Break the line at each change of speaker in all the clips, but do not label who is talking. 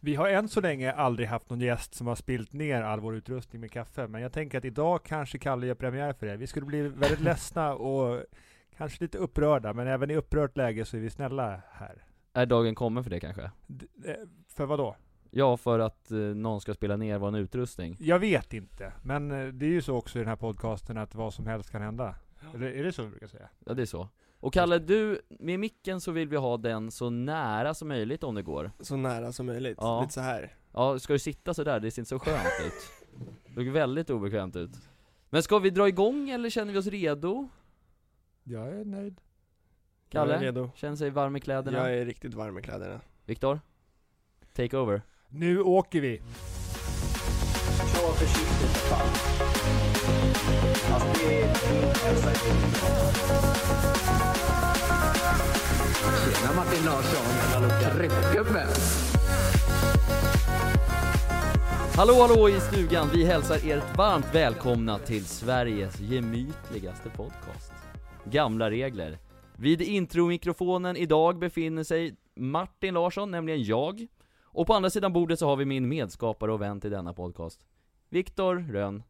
Vi har än så länge aldrig haft någon gäst som har spilt ner all vår utrustning med kaffe, men jag tänker att idag kanske Kalle gör premiär för det. Vi skulle bli väldigt ledsna och kanske lite upprörda, men även i upprört läge så är vi snälla här.
Är dagen kommen för det kanske?
D- eh, För vad då?
Ja, för att eh, någon ska spela ner vår utrustning.
Jag vet inte, men eh, det är ju så också i den här podcasten att vad som helst kan hända. Eller är det så vi brukar säga?
Ja, det är så. Och Kalle, du, med micken så vill vi ha den så nära som möjligt om det går.
Så nära som möjligt,
Ja.
lite så här.
Ja, ska du sitta så där? Det ser inte så skönt ut. Det ser väldigt obekvämt ut. Men ska vi dra igång eller känner vi oss redo?
Jag är nöjd.
Kalle?
Jag är redo.
Känner sig varm i kläderna?
Jag är riktigt varm i kläderna.
Viktor? Take over.
Nu åker vi!
Kör försiktigt fan. Alltså det är min hälsa i Tjena Martin Larsson, tryckgubbe.
Hallå hallå i stugan, vi hälsar er varmt välkomna till Sveriges gemytligaste podcast. Gamla regler. Vid intromikrofonen idag befinner sig Martin Larsson, nämligen jag. Och på andra sidan bordet så har vi min medskapare och vän till denna podcast, Viktor Rönn.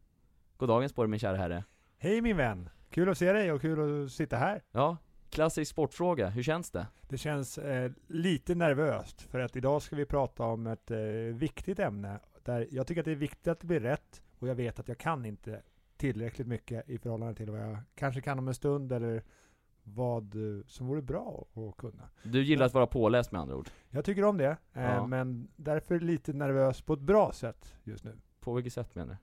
God dagens på dig min kära herre.
Hej min vän! Kul att se dig och kul att sitta här.
Ja, klassisk sportfråga, hur känns det?
Det känns eh, lite nervöst för att idag ska vi prata om ett eh, viktigt ämne där jag tycker att det är viktigt att det blir rätt och jag vet att jag kan inte tillräckligt mycket i förhållande till vad jag kanske kan om en stund eller vad eh, som vore bra att kunna.
Du gillar att vara påläst med andra ord.
Jag tycker om det, eh,
Ja.
men därför lite nervös på ett bra sätt just nu.
På vilket sätt menar du?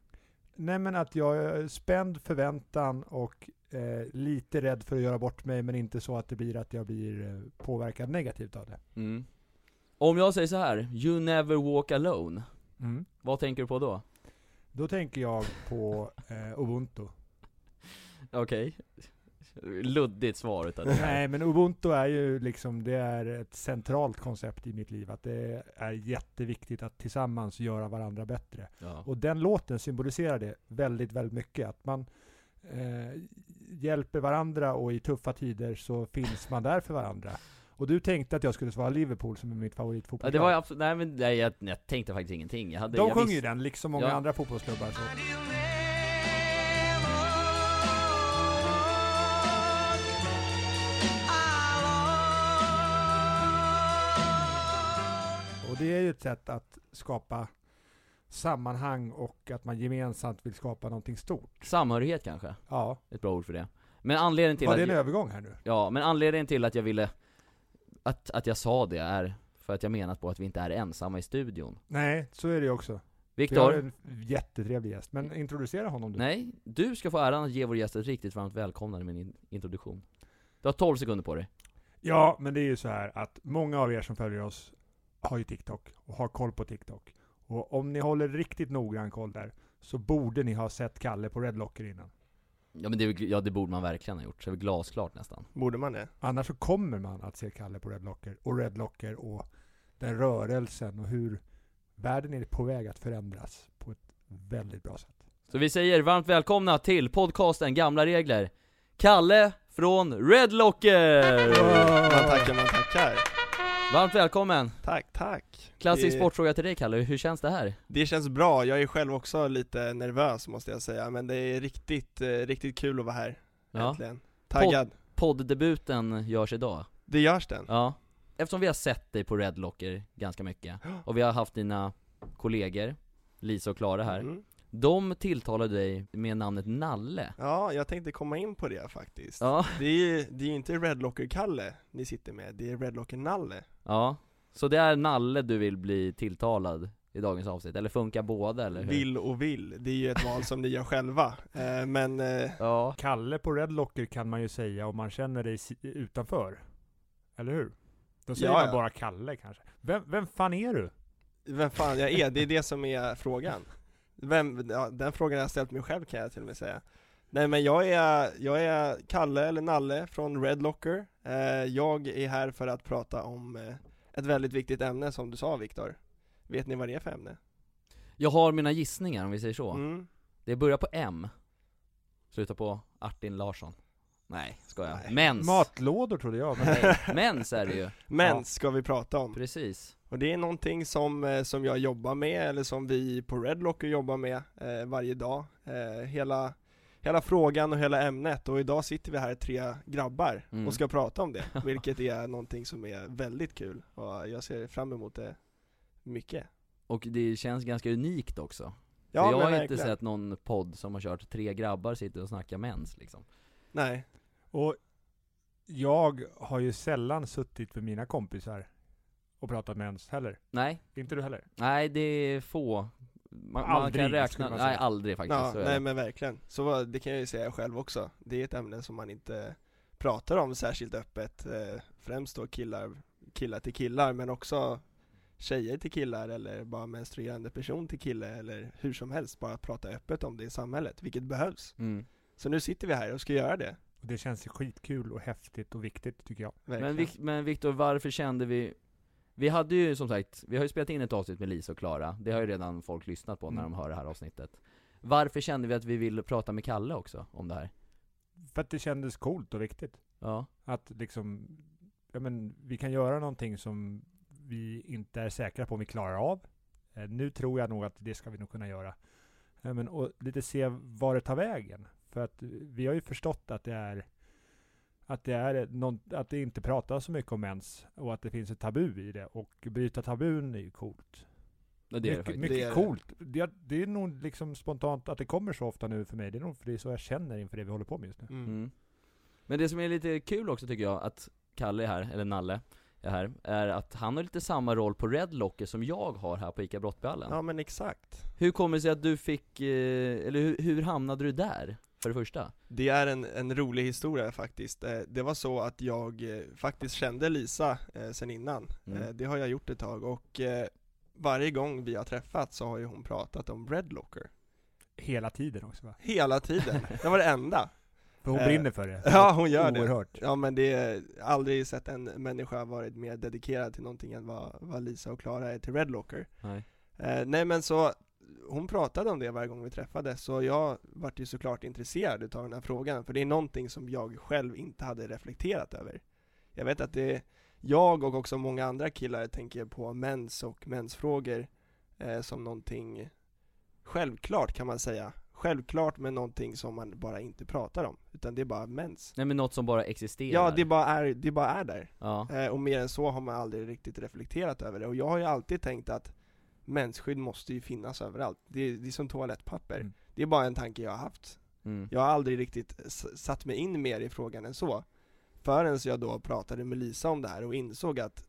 Nej men att jag är spänd förväntan och eh, lite rädd för att göra bort mig men inte så att det blir att jag blir eh, påverkad negativt av det.
Mm. Om jag säger så här, you never walk alone, vad tänker du på då?
Då tänker jag på eh, Ubuntu.
Okej. Luddigt svar utav det här.
Nej, men Ubuntu är ju liksom, det är ett centralt koncept i mitt liv. Att det är jätteviktigt att tillsammans göra varandra bättre.
Ja.
Och den låten symboliserar det väldigt, väldigt mycket. Att man eh, hjälper varandra och i tuffa tider så finns man där för varandra. Och du tänkte att jag skulle svara Liverpool som är mitt
Ja,
favoritfotbollslag.
det var ju absolut, nej men nej, jag, jag tänkte faktiskt ingenting. Jag hade,
De
jag
sjunger
visste-
ju den, liksom många
Ja.
andra fotbollsklubbar. Så. Och det är ju ett sätt att skapa sammanhang och att man gemensamt vill skapa någonting stort.
Samhörighet kanske,
Ja,
ett bra ord för det. Men anledningen till
var
att,
det en
jag,
övergång här nu?
ja, men anledningen till att jag ville, att, att jag sa det är för att jag menat på att vi inte är ensamma i studion.
Nej, så är det ju också. Vi har
Viktor,
en jättetrevlig gäst, men introducera honom du.
nej, du ska få äran att ge vår gäst ett riktigt varmt välkomnande med din introduktion. Du har 12 sekunder på dig.
Ja, men det är ju så här att många av er som följer oss har ju TikTok och har koll på TikTok. Och om ni håller riktigt noggrann koll där så borde ni ha sett Kalle på Redlocker innan.
Ja men det, är väl- ja, det borde man verkligen ha gjort, så det är väl glasklart nästan.
Borde man det?
Annars så kommer man att se Kalle på Redlocker och Redlocker och den rörelsen och hur världen är på väg att förändras på ett väldigt bra sätt.
Så vi säger varmt välkomna till podcasten Gamla Regler Kalle från Redlocker!
Man tackar, man tackar.
Varmt välkommen!
Tack, tack.
Klassisk
det,
sportfråga till dig Kalle, hur känns det här?
Det känns bra, jag är själv också lite nervös måste jag säga, men det är riktigt, eh, riktigt kul att vara här.
Ja.
Äntligen. Taggad.
Poddebuten görs idag,
Det görs den.
ja Eftersom vi har sett dig på Redlocker ganska mycket, och vi har haft dina kollegor, Lisa och Klara här
Mm.
De tilltalade dig med namnet Nalle
Ja, jag tänkte komma in på det faktiskt.
Ja,
Det är ju det är ju inte Redlocker-Kalle ni sitter med, det är Redlocker-Nalle.
ja Så det är Nalle du vill bli tilltalad i dagens avsnitt, eller funkar båda eller hur?
Vill och vill, det är ju ett val som ni gör själva. Eh, Men eh,
Ja,
Kalle på Redlocker kan man ju säga om man känner dig si- utanför. Eller hur? Då säger
Ja,
man
ja.
bara Kalle kanske. Vem, vem fan är du?
Vem fan jag är, det är det som är frågan. Vem, ja, den frågan har jag ställt mig själv kan jag till och med säga. Nej men jag är, jag är Kalle eller Nalle från Redlocker. Eh, jag är här för att prata om eh, ett väldigt viktigt ämne som du sa Viktor. Vet ni vad det är för ämne?
jag har mina gissningar om vi säger så
Mm.
Det börjar på M Slutar på Artin Larsson Nej, ska jag.
Nej.
Mens!
Matlådor trodde jag. Men
Nej, mens är det ju,
Mens
Ja.
ska vi prata om.
precis.
Och det är någonting som, eh, som jag jobbar med, eller som vi på Redlocker jobbar med eh, varje dag. Eh, hela, hela frågan och hela ämnet och idag sitter vi här tre grabbar
Mm.
och ska prata om det, vilket är någonting som är väldigt kul och jag ser fram emot det mycket.
Och det känns ganska unikt också.
Ja,
För jag
men
har inte
verkligen.
sett någon podd som har kört tre grabbar sitter och snackar mens liksom.
Nej,
Och jag har ju sällan suttit med mina kompisar och pratat med ens heller.
Nej,
Inte du heller?
nej det är få. Man,
Aldrig,
man kan
skulle
räkna,
man säga.
nej aldrig faktiskt.
ja,
så är
nej
det.
men verkligen. Så vad- det kan jag ju säga själv också. Det är ett ämne som man inte pratar om särskilt öppet, eh, främst då killar, killar till killar, men också tjejer till killar eller bara menstruerande person till kille eller hur som helst, bara att prata öppet om det i samhället, vilket behövs.
Mm.
Så nu sitter vi här och ska göra det.
Och det känns ju skitkul och häftigt och viktigt tycker jag.
Verkligen.
Men, Vic- men Viktor, varför kände vi vi hade ju som sagt, vi har ju spelat in ett avsnitt med Lisa och Klara, det har ju redan folk lyssnat på när
Mm.
de hör det här avsnittet Varför kände vi att vi ville prata med Kalle också om det här?
För att det kändes coolt och viktigt.
Ja,
Att liksom, ja men vi kan göra någonting som vi inte är säkra på om vi klarar av. Eh, nu tror jag nog att det ska vi nog kunna göra. Eh, men, och lite se var det tar vägen. För att eh, vi har ju förstått att det är att det, är någon, att det inte pratas så mycket om mens och att det finns ett tabu i det. Och bryta tabun är ju coolt.
och det är det
mycket
faktiskt
mycket
Det är det.
coolt. Det, det är nog liksom spontant att det kommer så ofta nu för mig. Det är nog för det är så jag känner inför det vi håller på med just nu.
Mm.
Mm. Men det som är lite kul också tycker jag, att Kalle är här, eller Nalle är här, är att han har lite samma roll på Red Locker som jag har här på ICA Brottballen
Ja men exakt.
Hur kommer det sig att du fick, eh, eller hur, hur hamnade du där? För det första?
Det är en, en rolig historia faktiskt. Eh, Det var så att jag eh, faktiskt kände Lisa eh, sen innan.
Mm.
Eh, Det har jag gjort ett tag och eh, varje gång vi har träffats så har ju hon pratat om Redlocker.
Hela tiden också va?
Hela tiden. Det var det enda.
För hon
Eh,
brinner för det.
Ja, hon gör det.
Oerhört.
Ja men det är aldrig sett en människa varit mer dedikerad till någonting än vad, vad Lisa och Klara är till Redlocker.
Nej.
Eh, nej men så, hon pratade om det varje gång vi träffades, så jag vart ju såklart intresserad utav den här frågan, för det är någonting som jag själv inte hade reflekterat över. Jag vet att det, jag och också många andra killar tänker på mens och mensfrågor eh, som någonting självklart kan man säga. Självklart men någonting som man bara inte pratar om, utan det är bara mens.
Nej men något som bara existerar?
Ja, det bara är, det bara är där.
ja.
Eh, Och mer än så har man aldrig riktigt reflekterat över det. Och jag har ju alltid tänkt att mensskydd måste ju finnas överallt. Det är, det är som toalettpapper.
Mm.
Det är bara en tanke jag har haft.
Mm.
Jag har aldrig riktigt s- satt mig in mer i frågan än så. Förrän jag då pratade med Lisa om det här och insåg att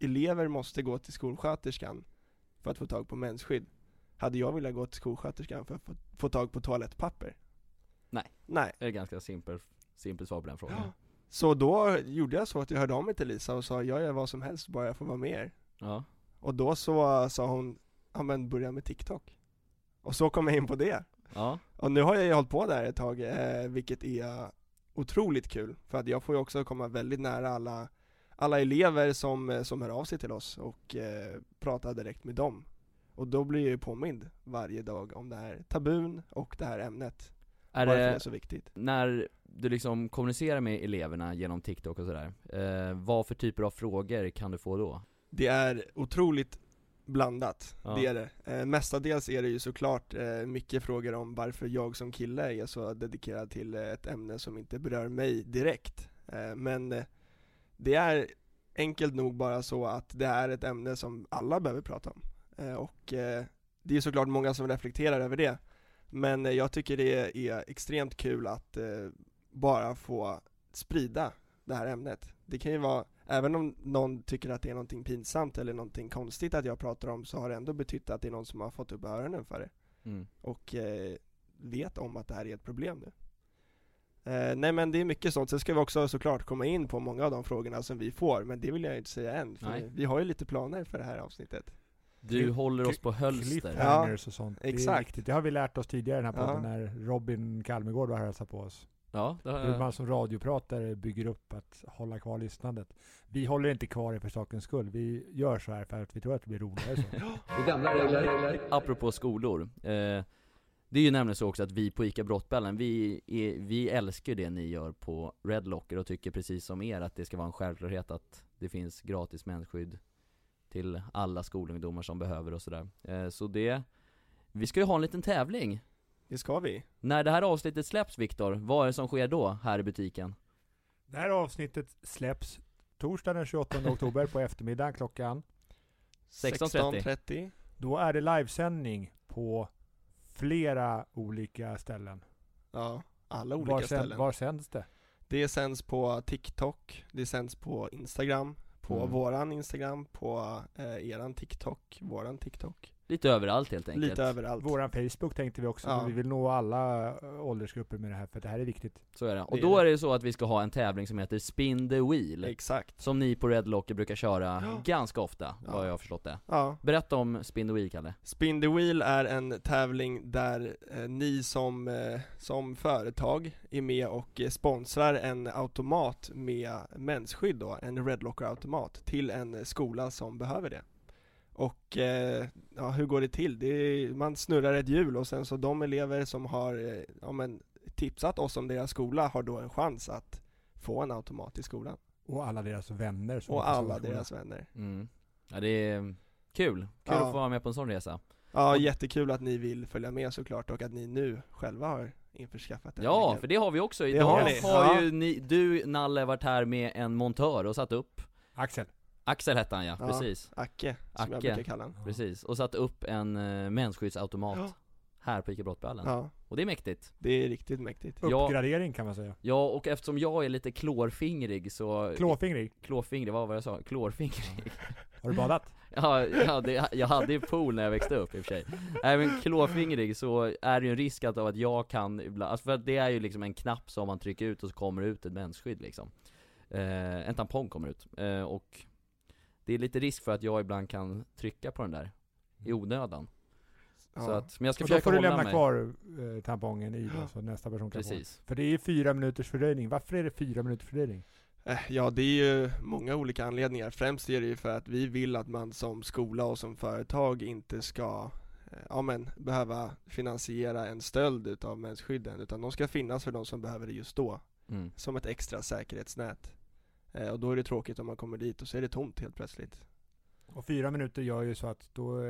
elever måste gå till skolsköterskan för att få tag på mensskydd. Hade jag velat gå till skolsköterskan för att få, få tag på toalettpapper?
Nej.
Nej.
Det är ett ganska simpelt simpel svar på den frågan
Ja. Så då gjorde jag så att jag hörde av mig till Lisa och sa jag gör vad som helst bara jag får vara med er.
Ja,
Och då så eh, sa hon, ja men börja med TikTok. Och så kom jag in på det.
ja,
Och nu har jag ju hållit på där ett tag, eh, vilket är otroligt kul. För att jag får ju också komma väldigt nära alla, alla elever som, eh, som hör av sig till oss och eh, prata direkt med dem. Och då blir jag ju påmind varje dag om det här tabun och det här ämnet.
är
varför det är
det,
så viktigt.
när du liksom kommunicerar med eleverna genom TikTok och sådär, eh, vad för typer av frågor kan du få då?
Det är otroligt blandat,
Ja.
det är det. Eh, mestadels är det ju såklart eh, mycket frågor om varför jag som kille är så dedikerad till eh, ett ämne som inte berör mig direkt. Eh, men eh, det är enkelt nog bara så att det är ett ämne som alla behöver prata om. Eh, och eh, det är såklart många som reflekterar över det. Men eh, jag tycker det är extremt kul att eh, bara få sprida det här ämnet. Det kan ju vara, även om någon tycker att det är någonting pinsamt eller någonting konstigt att jag pratar om så har det ändå betytt att det är någon som har fått upp öronen för det och eh, vet om att det här är ett problem nu. Eh, nej men det är mycket sånt, sen ska vi också såklart komma in på många av de frågorna som vi får, men det vill jag ju inte säga än, för
Nej.
vi har ju lite planer för det här avsnittet.
Du
Klipp-
håller oss på hölster.
Cliffhangers och sånt. Det, är
exakt.
viktigt. det har vi lärt oss tidigare i den här podden
Ja.
när Robin Kalmegård var här och hälsade på oss.
Ja, det har
Hur
jag.
man som radiopratare bygger upp att hålla kvar lyssnandet. Vi håller inte kvar det för sakens skull. Vi gör så här för att vi tror att det blir roligare så.
Det är gamla regler.
Apropå skolor, eh, Det är ju nämligen så också att vi på ICA Brottbällen, vi, är, vi älskar ju det ni gör på Red Locker och tycker precis som er att det ska vara en självklarhet att det finns gratis mensskydd till alla skolungdomar som behöver och sådär. Eh, så det, vi ska ju ha en liten tävling.
Det ska vi.
När det här avsnittet släpps Viktor, vad är det som sker då här i butiken?
Det här avsnittet släpps torsdagen den 28 oktober på eftermiddagen klockan.
16.30.
16.30.
Då är det livesändning på flera olika ställen.
Ja, alla olika
var, sänd-
ställen.
var sänds det?
Det sänds på TikTok, det sänds på Instagram, på
Mm.
våran Instagram, på eh, eran TikTok, våran TikTok.
Lite överallt helt enkelt.
Lite överallt.
Våran Facebook tänkte vi också,
Ja.
för vi vill nå alla eh, åldersgrupper med det här, för det här är viktigt.
Så är det. Och
Det är
då
det.
är det ju så att vi ska ha en tävling som heter Spin the Wheel.
Exakt.
Som ni på Red Locker brukar köra
Ja.
ganska ofta,
Ja.
vad jag har förstått det.
Ja.
Berätta om Spin the Wheel, Kalle.
Spin the Wheel är en tävling där eh, ni som, eh, som företag är med och eh, sponsrar en automat med mensskydd då, en Red Locker automat till en eh, skola som behöver det. Och eh, ja, hur går det till? Det är, man snurrar ett hjul och sen så de elever som har eh, ja, men, tipsat oss om deras skola har då en chans att få en automat i skolan.
Och alla deras vänner. som går
Och
på
alla
skolan.
deras vänner.
Mm. Ja det är kul, kul
Ja.
att få vara med på en sån resa
Ja,
Och-
jättekul att ni vill följa med såklart och att ni nu själva har införskaffat den
Ja,
regeln.
för det har vi också,
Det
idag
har
har,
ni. Ja.
ju ni, du Nalle varit här med en montör och satt upp
Axel.
Axel hette han ja,
Ja.
precis,
Acke, som jag
Acke.
brukar kalla honom.
precis, och satt upp en uh, mensskyddsautomat
Ja.
här på ICA Brottballen,
Ja,
och det är mäktigt
det är riktigt mäktigt.
Ja.
Uppgradering kan man säga.
Ja, och eftersom jag är lite klårfingrig så
Klåfingrig.
Klåfingrig, vad var det jag sa? Klårfingrig?
Har du badat?
Ja, ja det, jag hade ju pool när jag växte upp i och för sig Även klåfingrig så är det ju en risk att, av att jag kan ibland, alltså för att det är ju liksom en knapp som man trycker ut och så kommer det ut ett mensskydd liksom eh, En tampong kommer ut, eh, och det är lite risk för att jag ibland kan trycka på den där i onödan
Ja.
Så att, men jag ska
Mm. Och då
försöka
får du
hålla
lämna
mig
kvar eh, tampongen i då, så nästa person kan få.
Precis,
För det är ju fyra minuters fördröjning. Varför är det fyra minuters fördröjning?
Eh, ja, det är ju många olika anledningar. Främst är det ju för att vi vill att man som skola och som företag inte ska eh, ja, men, behöva finansiera en stöld utav mensskydden, utan de ska finnas för de som behöver det just då,
mm.
som ett extra säkerhetsnät. Eh, och då är det tråkigt om man kommer dit och så är det tomt helt plötsligt.
Och fyra minuter gör ju så att då eh,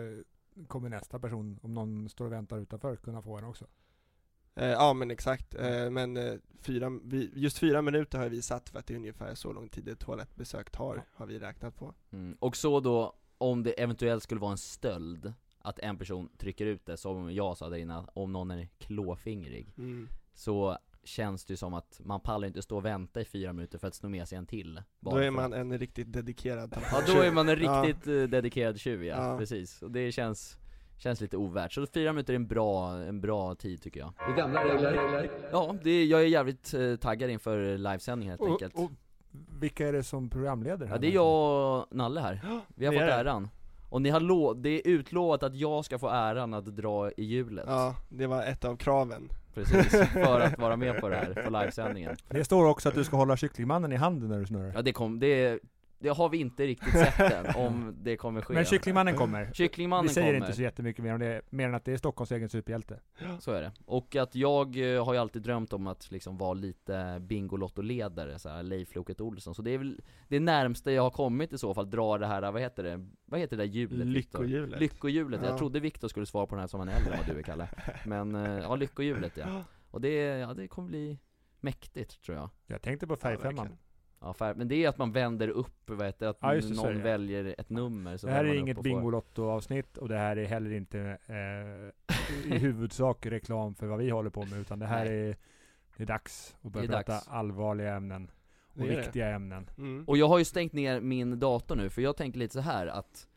kommer nästa person, om någon står och väntar utanför, kunna få en också.
Eh, ja men exakt,
Mm.
eh, men eh, fyra, vi, just fyra minuter har vi satt för att det är ungefär så lång tid ett toalettbesök tar,
Ja.
har vi räknat på.
Mm. Och så då, om det eventuellt skulle vara en stöld att en person trycker ut det, som jag sa där innan, om någon är klåfingrig så känns det ju som att man pallar inte stå och vänta i fyra minuter för att sno med sig en till.
Då är
för
man
att-
en riktigt dedikerad
Ja, då är man en riktigt eh, dedikerad tjuv ja,
Ja.
precis. Och det känns, känns lite ovärt. Så fyra minuter är en bra, en bra tid tycker jag.
Det är gamla regler.
Ja, det, jag är jävligt eh, taggad inför livesändningen helt enkelt.
Och, och vilka är det som programleder?
Ja
här?
det är jag och Nalle här, vi har
det
fått
är det.
äran Och ni har lo- det är utlovat att jag ska få äran att dra i hjulet,
Ja, det var ett av kraven.
precis, för att vara med på det här, på livesändningen
Det står också att du ska hålla kycklingmannen i handen när du snurrar.
Ja det kom, det, det har vi inte riktigt sett än, om det kommer ske
Men kycklingmannen kommer. Vi
Mm. Kycklingmannen
säger
kommer,
inte så jättemycket mer om det, mer än att det är Stockholms egen superhjälte.
så är det Och att jag eh, har ju alltid drömt om att liksom vara lite Bingolotto-ledare, såhär Leif Loket Olsson Så det är väl det närmsta jag har kommit i så fall, dra det här, vad heter det? Vad heter det där hjulet Viktor?
Lyckohjulet.
Lyckohjulet, jag
Ja.
trodde Viktor skulle svara på den här som han är äldre än vad du är Kalle Men, eh, ja lyckohjulet ja Och det, ja, det kommer bli mäktigt tror jag
Jag tänkte på
Ja,
färgfemman.
verkligen.
ja, fär, Men det är att man vänder upp, vad heter det, att
Ja, just det, så är
någon
det.
väljer ett nummer så
det här
vänder
är
man upp
inget
och får-
Bingolotto-avsnitt och det här är heller inte eh, i huvudsak reklam för vad vi håller på med utan det här är, det är dags att börja
Det är
prata
dags.
allvarliga ämnen och
Det är det.
viktiga ämnen.
Mm.
Och jag har ju stängt ner min dator nu, för jag tänker lite så här att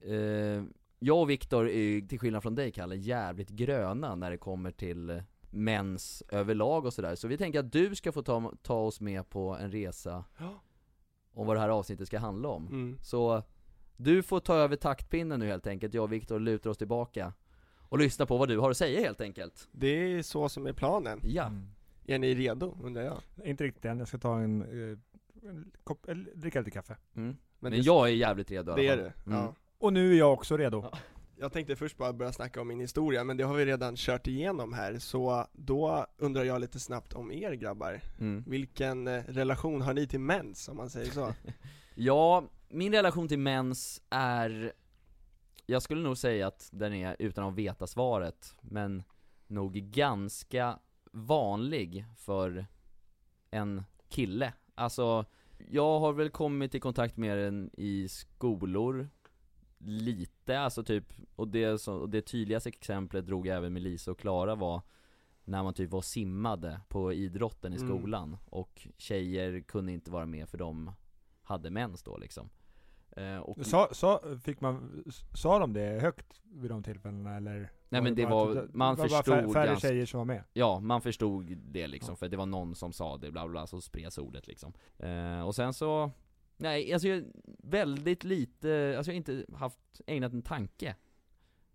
eh, Jag och Viktor är ju, till skillnad från dig Kalle, jävligt gröna när det kommer till eh, mens överlag och sådär Så vi tänker att du ska få ta, ta oss med på en resa
Ja.
Om vad det här avsnittet ska handla om
Mm.
Så du får ta över taktpinnen nu helt enkelt, jag och Viktor lutar oss tillbaka och lyssna på vad du har att säga helt enkelt
Det är så som är planen.
Ja,
Mm.
Är ni redo, undrar jag?
Inte riktigt än, jag ska ta en, eh, en kopp, eller dricka lite kaffe.
mm. men,
det,
jag är jävligt redo i alla
det är
fall.
du?
Mm.
Ja.
Och nu är jag också redo.
Jag tänkte först bara börja snacka om min historia, men det har vi redan kört igenom här, så då undrar jag lite snabbt om er grabbar.
Mm.
Vilken eh, relation har ni till mens, om man säger så?
Ja, min relation till mens är Jag skulle nog säga att den är, utan att veta svaret, men nog ganska vanlig för en kille Alltså, jag har väl kommit i kontakt med den i skolor Lite, alltså typ, och det, som- och det tydligaste exemplet drog jag även med Lisa och Klara var när man typ var och simmade på idrotten i
Mm.
skolan och tjejer kunde inte vara med för de hade mens då liksom Eh, och,
Sa, sa, fick man, sa de det högt vid de tillfällena eller?
Nej, men det
bara
var-
att-
man
det var bara
förstod
fär- Färre
ganska-
tjejer som var med.
Ja, man förstod det liksom
Ja.
för det var någon som sa det bla bla, bla så spreds ordet liksom eh, Och sen så Nej, alltså jag, väldigt lite, alltså jag har inte haft, ägnat en tanke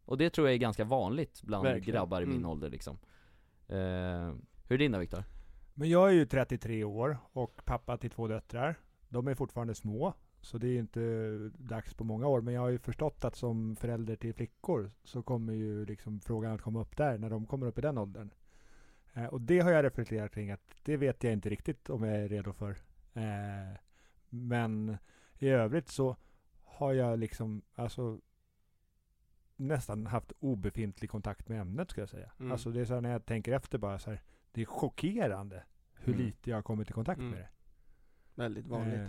Och det tror jag är ganska vanligt bland
Verkligen.
grabbar i min
Mm.
ålder liksom eh, Hur är din då Viktor?
Men jag är ju 33 år och pappa till två döttrar. De är fortfarande små, så det är ju inte dags på många år. Men jag har ju förstått att som förälder till flickor så kommer ju liksom frågan att komma upp där när de kommer upp i den åldern. Eh, och det har jag reflekterat kring att det vet jag inte riktigt om jag är redo för. Eh, men i övrigt så har jag liksom, alltså nästan haft obefintlig kontakt med ämnet skulle jag säga.
Mm.
Alltså det är så här när jag tänker efter bara så här, det är chockerande hur
Mm.
lite jag har kommit i kontakt
Mm.
med det.
Väldigt vanligt.
Eh,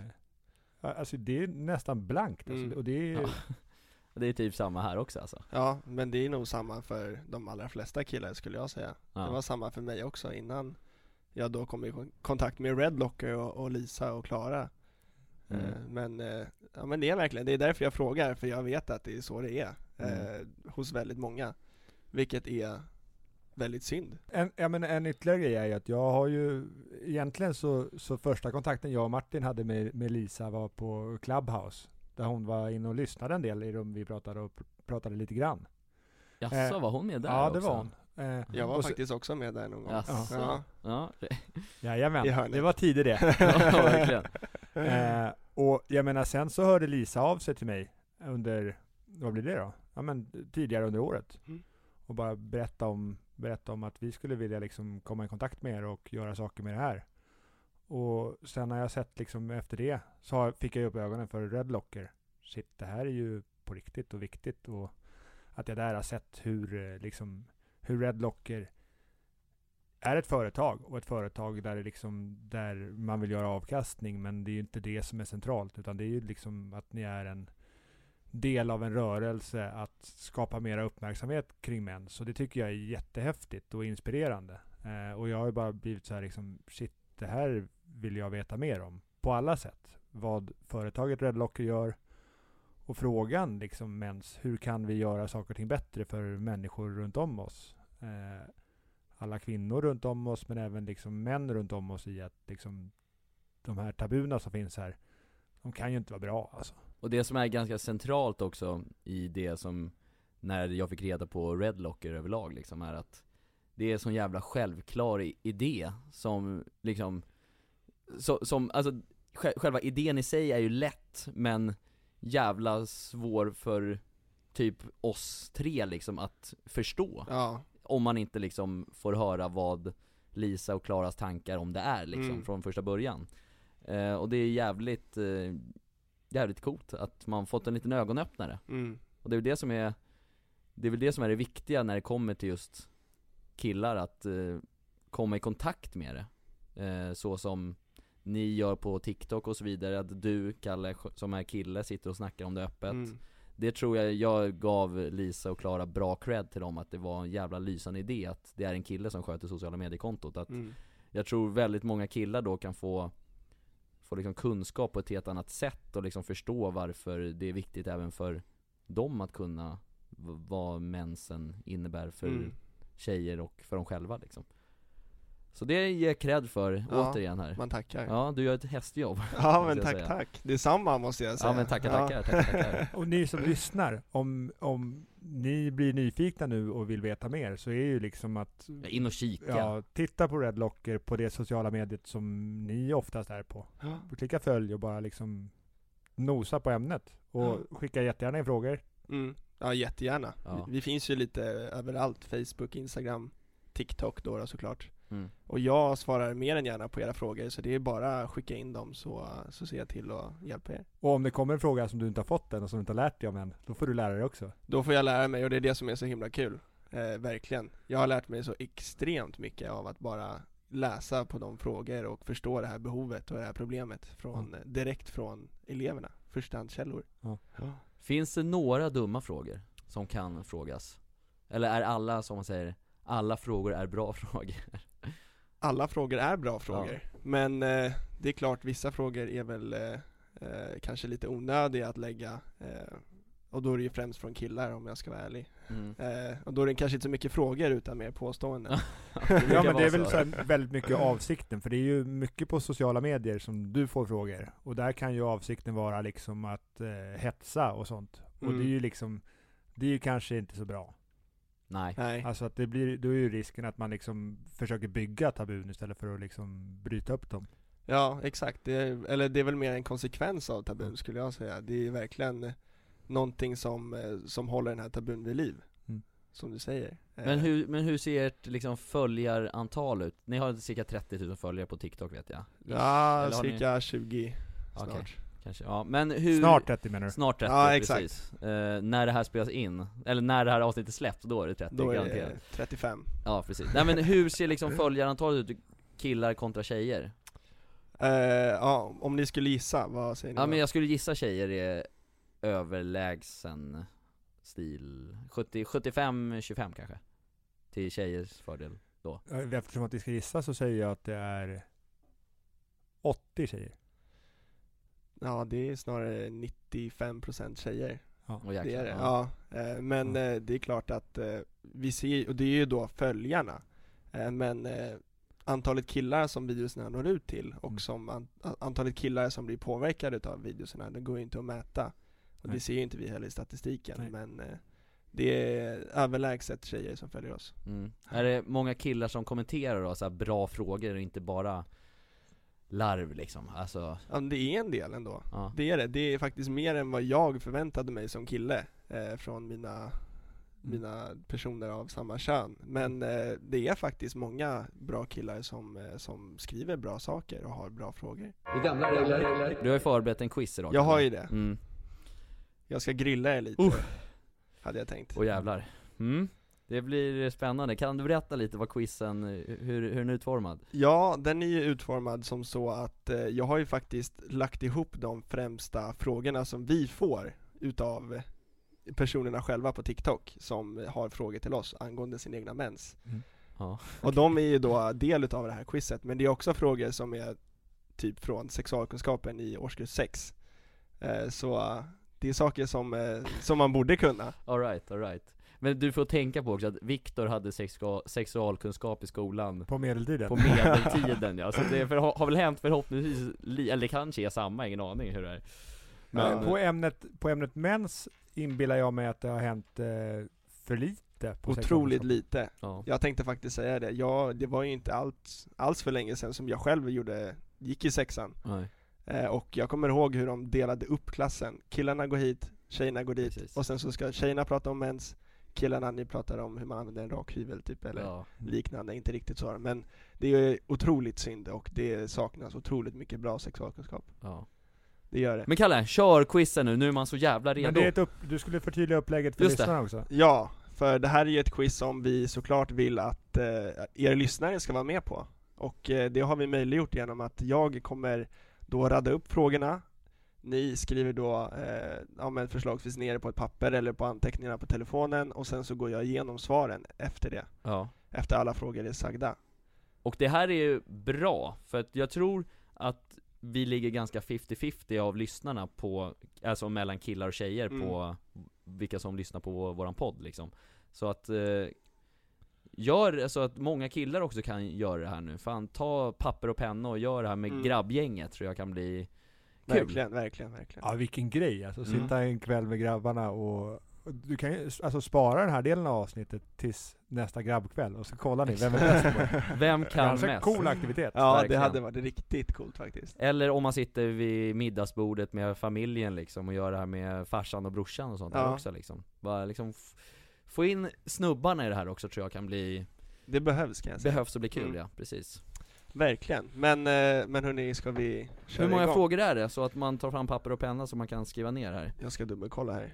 ja, alltså det är nästan blankt alltså,
Mm.
och det är,
Ja. Det är typ samma här också alltså
Ja, men det är nog samma för de allra flesta killar skulle jag säga. Det var samma för mig också innan jag då kom i kon- kontakt med Redlocker och, och Lisa och Klara.
Mm.
Eh, Men, eh, ja, men det är verkligen, det är därför jag frågar, för jag vet att det är så det är
Mm.
eh, hos väldigt många. Vilket är väldigt synd.
Mm.
En, ja, men en ytterligare grej är ju att jag har ju egentligen så, så första kontakten jag och Martin hade med, med Lisa var på Clubhouse. Där hon var inne och lyssnade en del i rum vi pratade och pr- pratade lite grann.
Jaså,
eh,
var hon med där
ja,
också?
det var hon. Eh,
Jag var
Och så-
faktiskt också med där någon gång.
Jaså?
Ja.
Ja,
jajamän,
I hörnet.
det var tider det.
ja verkligen
Eh, och jag menar, sen så hörde Lisa av sig till mig under, vad blir det då? Ja men tidigare under året.
Mm.
Och bara berätta om, berätta om att vi skulle vilja liksom komma i kontakt med er och göra saker med det här. Och sen har jag sett liksom efter det, så har- fick jag ju upp ögonen för Redlocker. Shit, det här är ju på riktigt och viktigt och att jag där har sett hur eh, liksom, hur Redlocker är ett företag och ett företag där, det liksom, där man vill göra avkastning men det är ju inte det som är centralt utan det är ju liksom att ni är en del av en rörelse att skapa mera uppmärksamhet kring män. Så det tycker jag är jättehäftigt och inspirerande. Eh, och jag har ju bara blivit så här liksom shit, det här vill jag veta mer om på alla sätt. Vad företaget Redlocker gör och frågan liksom mens, hur kan vi göra saker och ting bättre för människor runt om oss? Eh, alla kvinnor runt om oss men även liksom män runt om oss i att liksom de här tabuna som finns här, de kan ju inte vara bra alltså.
Och det som är ganska centralt också i det som, när jag fick reda på Redlocker överlag liksom, är att det är en sån jävla självklar i- idé som liksom, så, som, alltså sj- själva idén i sig är ju lätt, men jävla svår för typ oss tre liksom att förstå.
Ja,
Om man inte liksom får höra vad Lisa och Klaras tankar om det är liksom
Mm.
från första början eh, Och det är jävligt, eh, jävligt coolt att man fått en liten ögonöppnare
mm.
Och det är väl det som är, det är väl det som är det viktiga när det kommer till just killar att eh, komma i kontakt med det eh, Så som ni gör på TikTok och så vidare, att du Kalle som är kille sitter och snackar om det öppet
Mm.
det tror jag, jag gav Lisa och Klara bra cred till dem att det var en jävla lysande idé att det är en kille som sköter sociala mediekontot att
Mm.
jag tror väldigt många killar då kan få få liksom kunskap på ett helt annat sätt och liksom förstå varför det är viktigt även för dem att kunna v- vad mensen innebär för
Mm.
tjejer och för dem själva liksom Så det ger jag cred för,
Ja,
återigen här
Man tackar. Ja,
Ja, du gör ett hästjobb måste
men
jag
tack,
säga.
tack. Detsamma måste jag säga.
Ja men tackar, tackar, tackar, tackar
Och ni som lyssnar, om, om ni blir nyfikna nu och vill veta mer så är ju liksom att
In och kika
ja, titta på Redlocker på det sociala mediet som ni oftast är på.
Ja.
Klicka följ och bara liksom nosa på ämnet och skicka jättegärna in frågor.
Mm. Ja, jättegärna.
Ja.
Vi, vi finns ju lite överallt, Facebook, Instagram, TikTok då, då såklart.
Mm.
Och jag svarar mer än gärna på era frågor, så det är bara att skicka in dem så, så ser jag till att hjälpa er.
Och om det kommer en fråga som du inte har fått än och som du inte har lärt dig om än, då får du lära dig också.
Då får jag lära mig och det är det som är så himla kul. Eh, verkligen. Jag har lärt mig så extremt mycket av att bara läsa på de frågor och förstå det här behovet och det här problemet från, eh, direkt från eleverna, förstahandskällor.
Ja.
Finns det några dumma frågor som kan frågas? Eller är alla, som man säger, alla frågor är bra frågor?
Alla frågor är bra frågor, men eh, det är klart vissa frågor är väl eh, eh, kanske lite onödiga att lägga eh, och då är det ju främst från killar om jag ska vara ärlig.
Mm.
Eh, och då är det kanske inte så mycket frågor utan mer påståenden.
Ja
kan
men det är
vara
väl så här väldigt mycket avsikten, för det är ju mycket på sociala medier som du får frågor. Och där kan ju avsikten vara liksom att eh, hetsa och sånt. Och
Mm.
det är ju liksom, det är ju kanske inte så bra.
Nej.
Nej.
Alltså att det blir, då är ju risken att man liksom försöker bygga tabun istället för att liksom bryta upp dem.
Ja, exakt. Det är, eller det är väl mer en konsekvens av tabun skulle jag säga. Det är verkligen eh, någonting som, eh, som håller den här tabun vid liv.
Mm.
Som du säger. Eh,
Men hur, men hur ser ert liksom följarantal ut? Ni har cirka 30 000 följare på TikTok vet jag
Eh, Ja,
eller har ni-
cirka 20 snart.
Okej. Kanske, ja men hur
Snart 30 menar du?
Snart 30,
Ja,
precis
exakt.
Eh, När det här spelas in, eller när det här avsnittet släpps, då är det 30
Då är
garanterat
det 35.
Ja precis, nej men hur ser liksom följarantalet ut? Killar kontra tjejer?
Eh, ja, om ni skulle gissa, vad säger ni?
Ja
då?
men jag skulle gissa tjejer är överlägsen stil 70, 75-25 kanske Till tjejers fördel då
Eh, Eftersom att vi ska gissa så säger jag att det är 80 tjejer.
Ja, det är snarare 95% tjejer.
Ja.
Åh,
Det
jäklar,
är det.
ja.
Ja. eh, Men eh, det är klart att eh, vi ser, och det är ju då följarna, Eh, men eh, antalet killar som videorna når ut till
Mm.
och som an- a- antalet killar som blir påverkade av videorna, det går ju inte att mäta. Och
Nej.
det ser ju inte vi heller i statistiken,
Nej.
men eh, det är överlägset tjejer som följer oss.
Mm. Är det många killar som kommenterar då, så här bra frågor och inte bara larv liksom? Alltså,
Ja, men det är en del ändå.
ja.
Det är det, det är faktiskt mer än vad jag förväntade mig som kille eh, från mina, mina personer av samma kön. Men eh, det är faktiskt många bra killar som, eh, som skriver bra saker och har bra frågor.
I gamla regler.
Du har ju förberett en quiz idag
Jag har
Kalle.
ju det.
Mm,
Jag ska grilla er lite,
Uff.
hade jag tänkt.
och jävlar mm. Det blir spännande, kan du berätta lite vad quizen, hur, hur den är utformad?
Ja, den är ju utformad som så att eh, jag har ju faktiskt lagt ihop de främsta frågorna som vi får utav personerna själva på TikTok som har frågor till oss angående sin egna mens.
Ja,
Och de är ju då del utav det här quizet, men det är också frågor som är typ från sexualkunskapen i årskurs 6. Eh, så eh, det är saker som, eh, som man borde kunna.
alright, alright Men du får tänka på också att Viktor hade sexua- sexualkunskap i skolan
På medeltiden?
på medeltiden ja, så det för, har väl hänt förhoppningsvis, li- eller det kanske är samma, ingen aning hur det är
Men
Ja.
på, ämnet, på ämnet mens inbillar jag mig att det har hänt eh, för lite. På
Otroligt
lite.
lite.
ja.
Jag tänkte faktiskt säga det, jag, det var ju inte allt, alls för länge sedan som jag själv gjorde, gick i sexan.
Nej.
Eh, och jag kommer ihåg hur de delade upp klassen. Killarna går hit, tjejerna går dit,
Precis.
och sen så ska tjejerna prata om mens, killarna ni pratar om hur man använder en rakhyvel typ, eller
Ja.
liknande, inte riktigt så men det är otroligt synd och det saknas otroligt mycket bra sexualkunskap.
Ja.
Det gör det.
Men Kalle, kör quizen nu, nu är man så jävla redo
Men det är ett upp, du skulle förtydliga upplägget för
Just det.
lyssnarna också.
Ja, för det här är ju ett quiz som vi såklart vill att eh, er lyssnare ska vara med på. Och eh, det har vi möjliggjort genom att jag kommer då radda upp frågorna. Ni skriver då eh, ja, men förslagsvis ner på ett papper eller på anteckningarna på telefonen och sen så går jag igenom svaren efter det.
Ja.
Efter alla frågor är sagda.
Och det här är ju bra, för att jag tror att vi ligger ganska 50-50 av lyssnarna på, alltså mellan killar och tjejer på vilka som lyssnar på vår, våran podd liksom. Så att, eh, gör så att många killar också kan göra det här nu. Fan, ta papper och penna och gör det här med
Mm.
grabbgänget, tror jag kan bli kul.
Verkligen, verkligen, verkligen.
Mm.
Ja vilken grej alltså, sitta en kväll med grabbarna och Du kan ju s- alltså spara den här delen av avsnittet tills nästa grabbkväll och så kollar ni vem är bäst på det.
Vem kan
Ganska
mest?
cool aktivitet.
Ja, det
Verkligen.
hade varit riktigt coolt faktiskt.
Eller om man sitter vid middagsbordet med familjen liksom och gör det här med farsan och brorsan och sånt där
Ja.
också liksom. Bara liksom f- få in snubbarna i det här också tror jag kan bli,
Det behövs kan jag säga.
behövs och bli kul
Mm.
ja, precis.
Verkligen. Men, eh, men hörni, ska vi köra
Hur många
igång?
frågor är det? Så att man tar fram papper och penna så man kan skriva ner här.
Jag ska dubbelkolla här.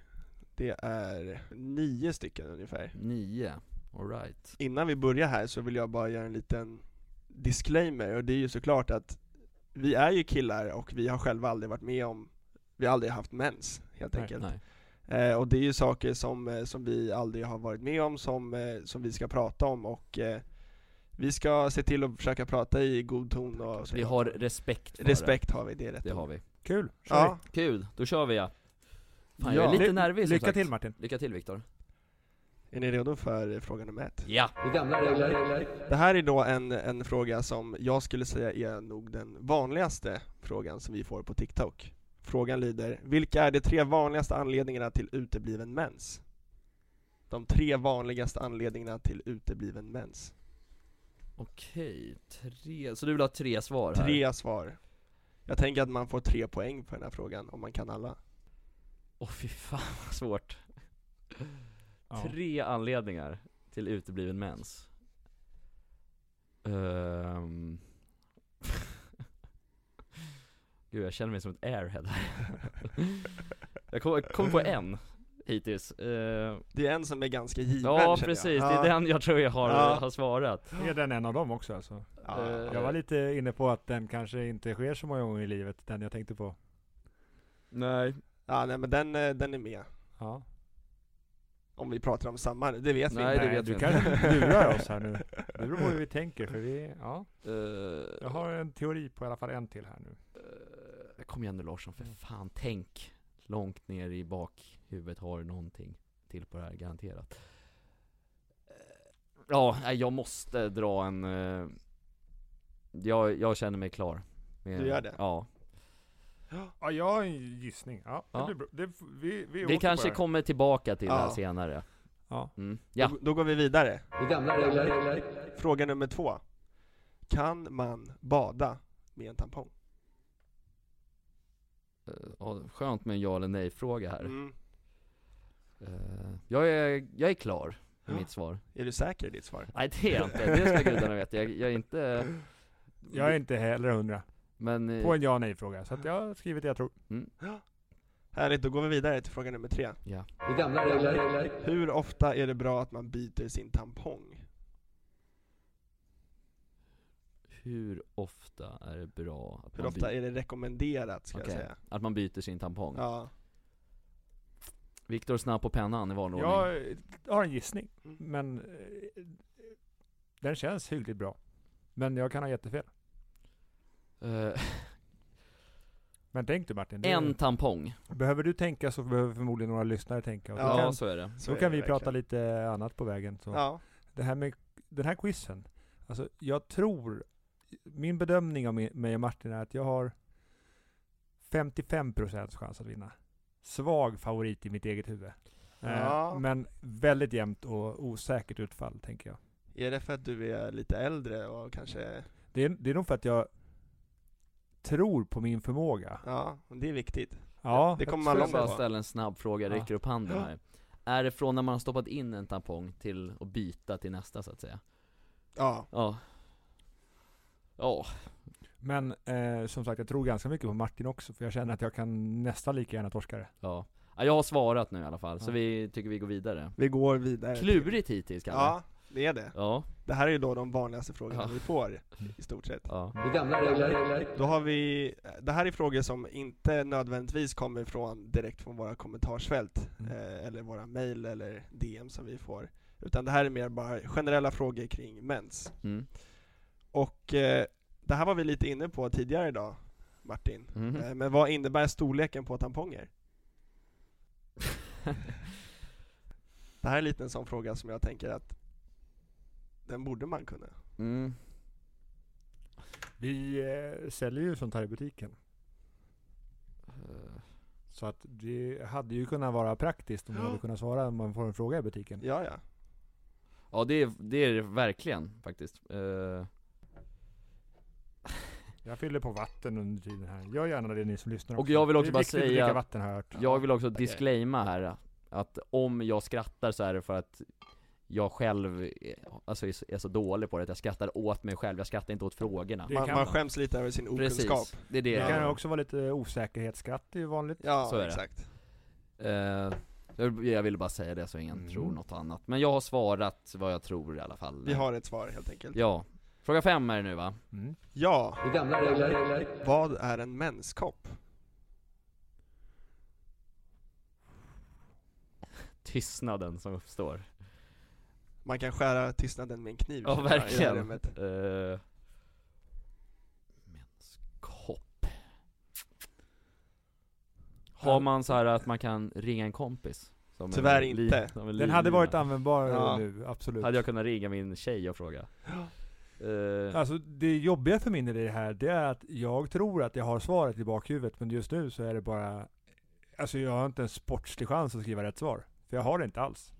Det är nio stycken ungefär.
Nio, alright.
Innan vi börjar här så vill jag bara göra en liten disclaimer och det är ju såklart att vi är ju killar och vi har själva aldrig varit med om, vi har aldrig haft mens helt
Nej,
enkelt.
Nej.
Eh, och det är ju saker som, eh, som vi aldrig har varit med om, som, eh, som vi ska prata om och eh, vi ska se till att försöka prata i god ton och
Vi har respekt för
Respekt har vi, det är rätt
det. Det har
ord.
vi.
Kul, kör
Ja,
Kul, då kör vi ja. Fan, jag är
Ja.
lite
Ly-
nervig som
Lycka
sagt.
till Martin.
Lycka till Viktor.
är ni redo för eh, fråga nummer ett?
Ja!
Det är gamla regler.
Det här är då en, en fråga som jag skulle säga är nog den vanligaste frågan som vi får på TikTok. Frågan lyder, vilka är de tre vanligaste anledningarna till utebliven mens? De tre vanligaste anledningarna till utebliven mens.
Okej, tre, så du vill ha tre svar här?
Tre svar. Jag tänker att man får tre poäng på den här frågan om man kan alla.
Åh fy fan vad svårt.
Ja.
Tre anledningar till utebliven mens. Um... Gud jag känner mig som ett airhead här. jag kom, jag kom på en hittills. Eh,
Det är en som är ganska given
ja
känner
precis,
jag.
det är den jag tror jag har,
Ja.
har svarat.
Är den en av dem också alltså?
Ja.
Eh,
Jag var lite inne på att den kanske inte sker så många gånger i livet, den jag tänkte på.
Nej.
ja, nej men den, eh, den är med.
Ja.
Om vi pratar om samma, det vet vi
Nej,
inte.
det vet vi
du kanske lurar oss här nu. Det beror på hur vi tänker, för vi, ja. Jag har en teori på i alla fall en till här nu.
Eh, Kom igen nu Larsson, för fan tänk Långt ner i bakhuvudet har du någonting till på det här, garanterat Eh, Ja, nej, jag måste dra en eh, jag, jag känner mig klar Med-
Du gör det?
Ja,
Ja, jag har en gissning. Ja,
Ja.
Det blir, bra. det, vi, vi,
vi kanske
kommer...
kommer tillbaka till det här
Ja.
senare
Ja.
mm. Ja,
Då, då går vi vidare.
Det är gamla regler.
Fråga nummer två. Kan man bada med en tampong?
eh, ja, skönt med en ja eller nej fråga här
Mm.
Eh, jag, är, jag är klar med
Ja.
mitt svar
Är du säker i ditt svar?
Nej det är jag inte, det ska gudarna veta, jag, jag är inte
Jag är inte heller hundra.
Men, eh,
På en ja nej fråga. Så att jag har skrivit det jag tror.
Härligt, då går vi vidare till fråga nummer tre.
ja
Det är gamla regler.
Hur ofta är det bra att man byter sin tampong?
Hur ofta är det bra att,
Hur
man,
ofta
by-
är det rekommenderat, ska
Okej.
jag säga.
att man byter sin tampong?
Ja.
Viktor snabb på pennan i vanlig ordning
Jag eh, har en gissning,
Mm.
men eh, den känns hyggligt bra. Men jag kan ha jättefel.
Eh,
Men tänk du Martin, det-
En tampong,
behöver du tänka så behöver förmodligen några lyssnare tänka. Och då
Ja,
kan,
ja så är det
så
då
är
kan
det
vi prata
verkligen.
lite annat på vägen. Så.
Ja.
det här med den här quizen. Alltså jag tror, min bedömning av mi- mig och Martin är att jag har 55% chans att vinna. Svag favorit i mitt eget huvud. Eh,
Ja.
Men väldigt jämnt och osäkert utfall, tänker jag.
Är det för att du är lite äldre och kanske...
Det är, det är nog för att jag tror på min förmåga.
Ja, det är viktigt.
Ja,
det kommer
jag
man
tror
Jag
långt
det.
bara
på.
ställa en snabb fråga, jag
Ja.
räcker upp handen här Är det från när man har stoppat in en tampong till att byta till nästa så att säga?
Ja.
Ja Ja,
Men eh, som sagt, jag tror ganska mycket på Martin också, för jag känner att jag kan nästan lika gärna torska det.
ja Ja, Jag har svarat nu i alla fall, så
Ja.
vi tycker vi går vidare
Vi går vidare.
Klurigt hittills kanske?
Eh, Ja, det är det.
Ja,
Det här är ju då de vanligaste frågorna
Ja. Mm.
vi får, i stort sett.
ja,
Det är gamla regler.
Då har vi, det här är frågor som inte nödvändigtvis kommer från, direkt från våra kommentarsfält,
Mm.
eh, eller våra mail eller DM som vi får. Utan det här är mer bara generella frågor kring mens.
mm.
Och eh, det här var vi lite inne på tidigare idag, Martin.
Mhm.
Eh, men vad innebär storleken på tamponger? Det här är lite en sån fråga som jag tänker att den borde man kunna.
mm.
Vi eh, säljer ju sånt här i butiken.
Eh,
Så att det hade ju kunnat vara praktiskt om du hade kunnat svara om man får en fråga i butiken.
Ja, ja.
Ja det är det, är det verkligen faktiskt Eh,
Jag fyller på vatten under tiden här. Gör gärna det ni som lyssnar
Och jag vill också
Det är
bara
viktigt att
säga-
dricka vatten har jag hört.
Jag vill också disclaima här Att om jag skrattar så är det för att jag själv är- alltså, är så- är så dålig på det, att jag skrattar åt mig själv, jag skrattar inte åt frågorna
Det
Man,
kan
man
man.
skäms lite över sin okunskap.
Precis, det är det
Det kan
jag-
ju också vara lite osäkerhetsskratt, det är ju vanligt.
Ja,
Så är det.
exakt.
Eh, jag, jag ville bara säga det så ingen
Mm.
tror något annat. Men jag har svarat vad jag tror i alla fall.
Vi har ett svar helt enkelt.
Ja. Fråga fem är det nu va?
Mm.
Ja,
Det gamla regler regler.
vad är en menskopp?
Tystnaden som uppstår.
Man kan skära tystnaden med en kniv.
Ja,
i det här
verkligen.
rummet.
Eh, menskopp. Har man så här att man kan ringa en kompis? Som
Tyvärr
en li-
inte.
som en
Den hade
lina.
varit användbar
Ja.
nu, absolut.
Hade jag kunnat ringa min tjej och fråga? Eh,
Alltså det jobbiga för min del i det här, det är att jag tror att jag har svaret i bakhuvudet, men just nu så är det bara... Alltså jag har inte en sportslig chans att skriva rätt svar. För jag har det inte alls.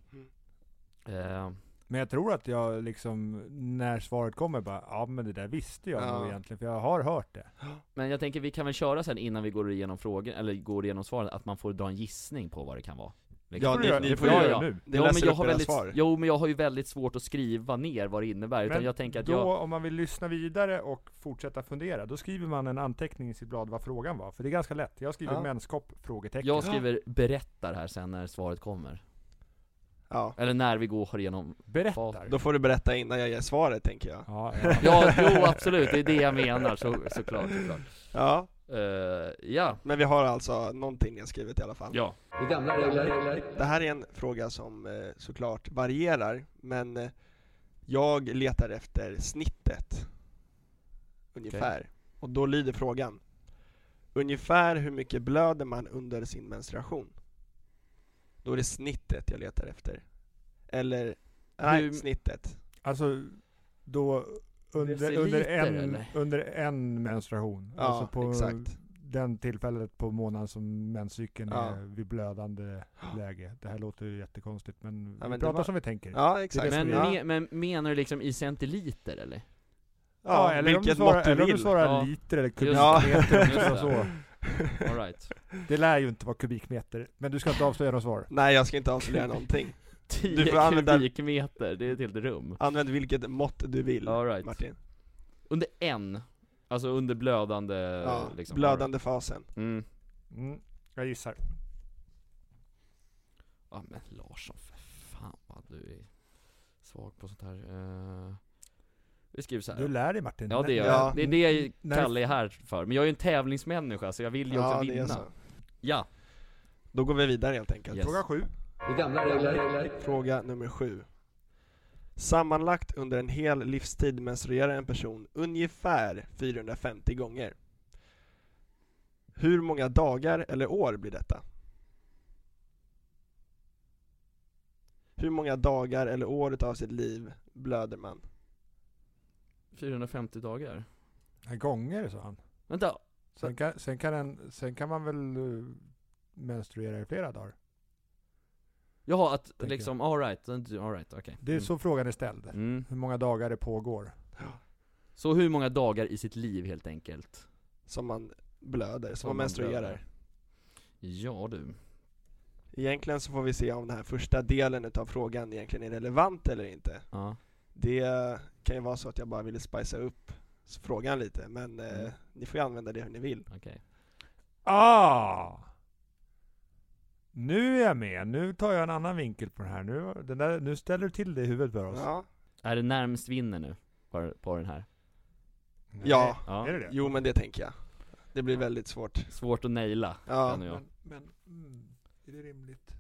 eh,
Men jag tror att jag liksom, när svaret kommer bara, ja men det där visste jag
Ja.
nog egentligen, för jag har hört det.
Men jag tänker vi kan väl köra sen innan vi går igenom frågan, eller går igenom svaren, att man får dra en gissning på vad det kan vara Vilket-
Ja,
Det
ni-
gör-
ni
det
får
jag
göra
göra
nu.
nu.
Det
Ja, men
läser
jag
upp
har
era
väldigt,
svar.
jo men jag har ju väldigt svårt att skriva ner vad det innebär, utan
Men
jag tänker att
då,
jag,
om man vill lyssna vidare och fortsätta fundera, då skriver man en anteckning i sitt blad vad frågan var. För det är ganska lätt. Jag skriver
Ja.
menskopp? Frågetecken.
jag skriver 'berättar' här sen när svaret kommer
Ja.
Eller när vi går igenom
Berättar.
Då får du berätta innan jag ger svaret, tänker jag.
Ja,
Ja, jo absolut, det är det jag menar, så, såklart, såklart
Ja,
Eh, Ja,
men vi har alltså någonting ni har skrivit i alla fall.
ja
Det gamla regler regler.
Det här är en fråga som eh, såklart varierar, men eh, jag letar efter snittet. Ungefär. Och då lyder frågan. Ungefär hur mycket blöder man under sin menstruation? Då är det snittet jag letar efter. Eller, nej,
Hur-
snittet.
Alltså, då under,
Deciliter,
under, en,
eller?
under en menstruation.
Ja,
alltså på
exakt.
den tillfället på månaden som menscykeln
Ja.
är vid blödande läge. Det här låter ju jättekonstigt men
Ja,
vi
men det
pratar
var-
som vi tänker.
Ja, exakt.
men,
ja.
me, men menar du liksom i centiliter eller?
Ja,
ja,
eller, om du
vilket
svarar,
mått du
eller om du
vill.
svarar
Ja.
liter eller
Just
Ja.
kubikmeter. eller
Just
så.
det. All right.
Det lär ju inte vara kubikmeter, men du ska inte avslöja något svar.
Nej, jag ska inte avslöja någonting.
10
Du får använda-
kubikmeter, det är ett helt rum
Använd vilket mått du vill,
All right. Eh,
Martin.
Under en, alltså under blödande
Ja,
liksom
blödande fasen.
mm.
Mm, jag gissar.
Ja men Larsson, för fan vad du är svag på sånt här Eh, Vi skriver så här.
Du lär dig Martin.
Ja det gör
Ja. Mm.
jag, det är det jag
När-
Kalle är här för, men jag är ju en tävlingsmänniska så jag vill ju också
Ja, det är
vinna
så.
Ja,
Då går vi vidare helt enkelt.
yes.
Fråga sju.
Det gamla regler regler.
Fråga nummer sju. Sammanlagt under en hel livstid menstruerar en person ungefär 450 gånger. Hur många dagar eller år blir detta? Hur många dagar eller år utav sitt liv blöder man?
450 dagar
Gånger sa han.
Vänta,
Sen kan, sen, kan en, sen kan man väl eh, menstruera i flera dagar?
jaha att
jag.
liksom, alright, alright, okej
Det är så frågan är ställd.
mm. Mm.
Hur många dagar det pågår.
Så hur många dagar i sitt liv helt enkelt?
Som man blöder, som, man
man
menstruerar.
blöder. Ja du
Egentligen så får vi se om den här första delen utav frågan egentligen är relevant eller inte.
Ja,
Det kan ju vara så att jag bara ville spicea upp frågan lite, men
Mm.
eh, ni får ju använda det hur ni vill.
okej
Ah! Nu är jag med. Nu tar jag en annan vinkel på den här. Nu, den där, nu ställer du till det i huvudet för oss.
Ja,
Är det närmst vinner nu? På, på den här?
Nej.
ja.
Ja.
Är det det?
jo men det tänker jag. Det blir väldigt svårt.
Svårt att naila,
Ja,
känner jag.
Men, men mm, är det rimligt?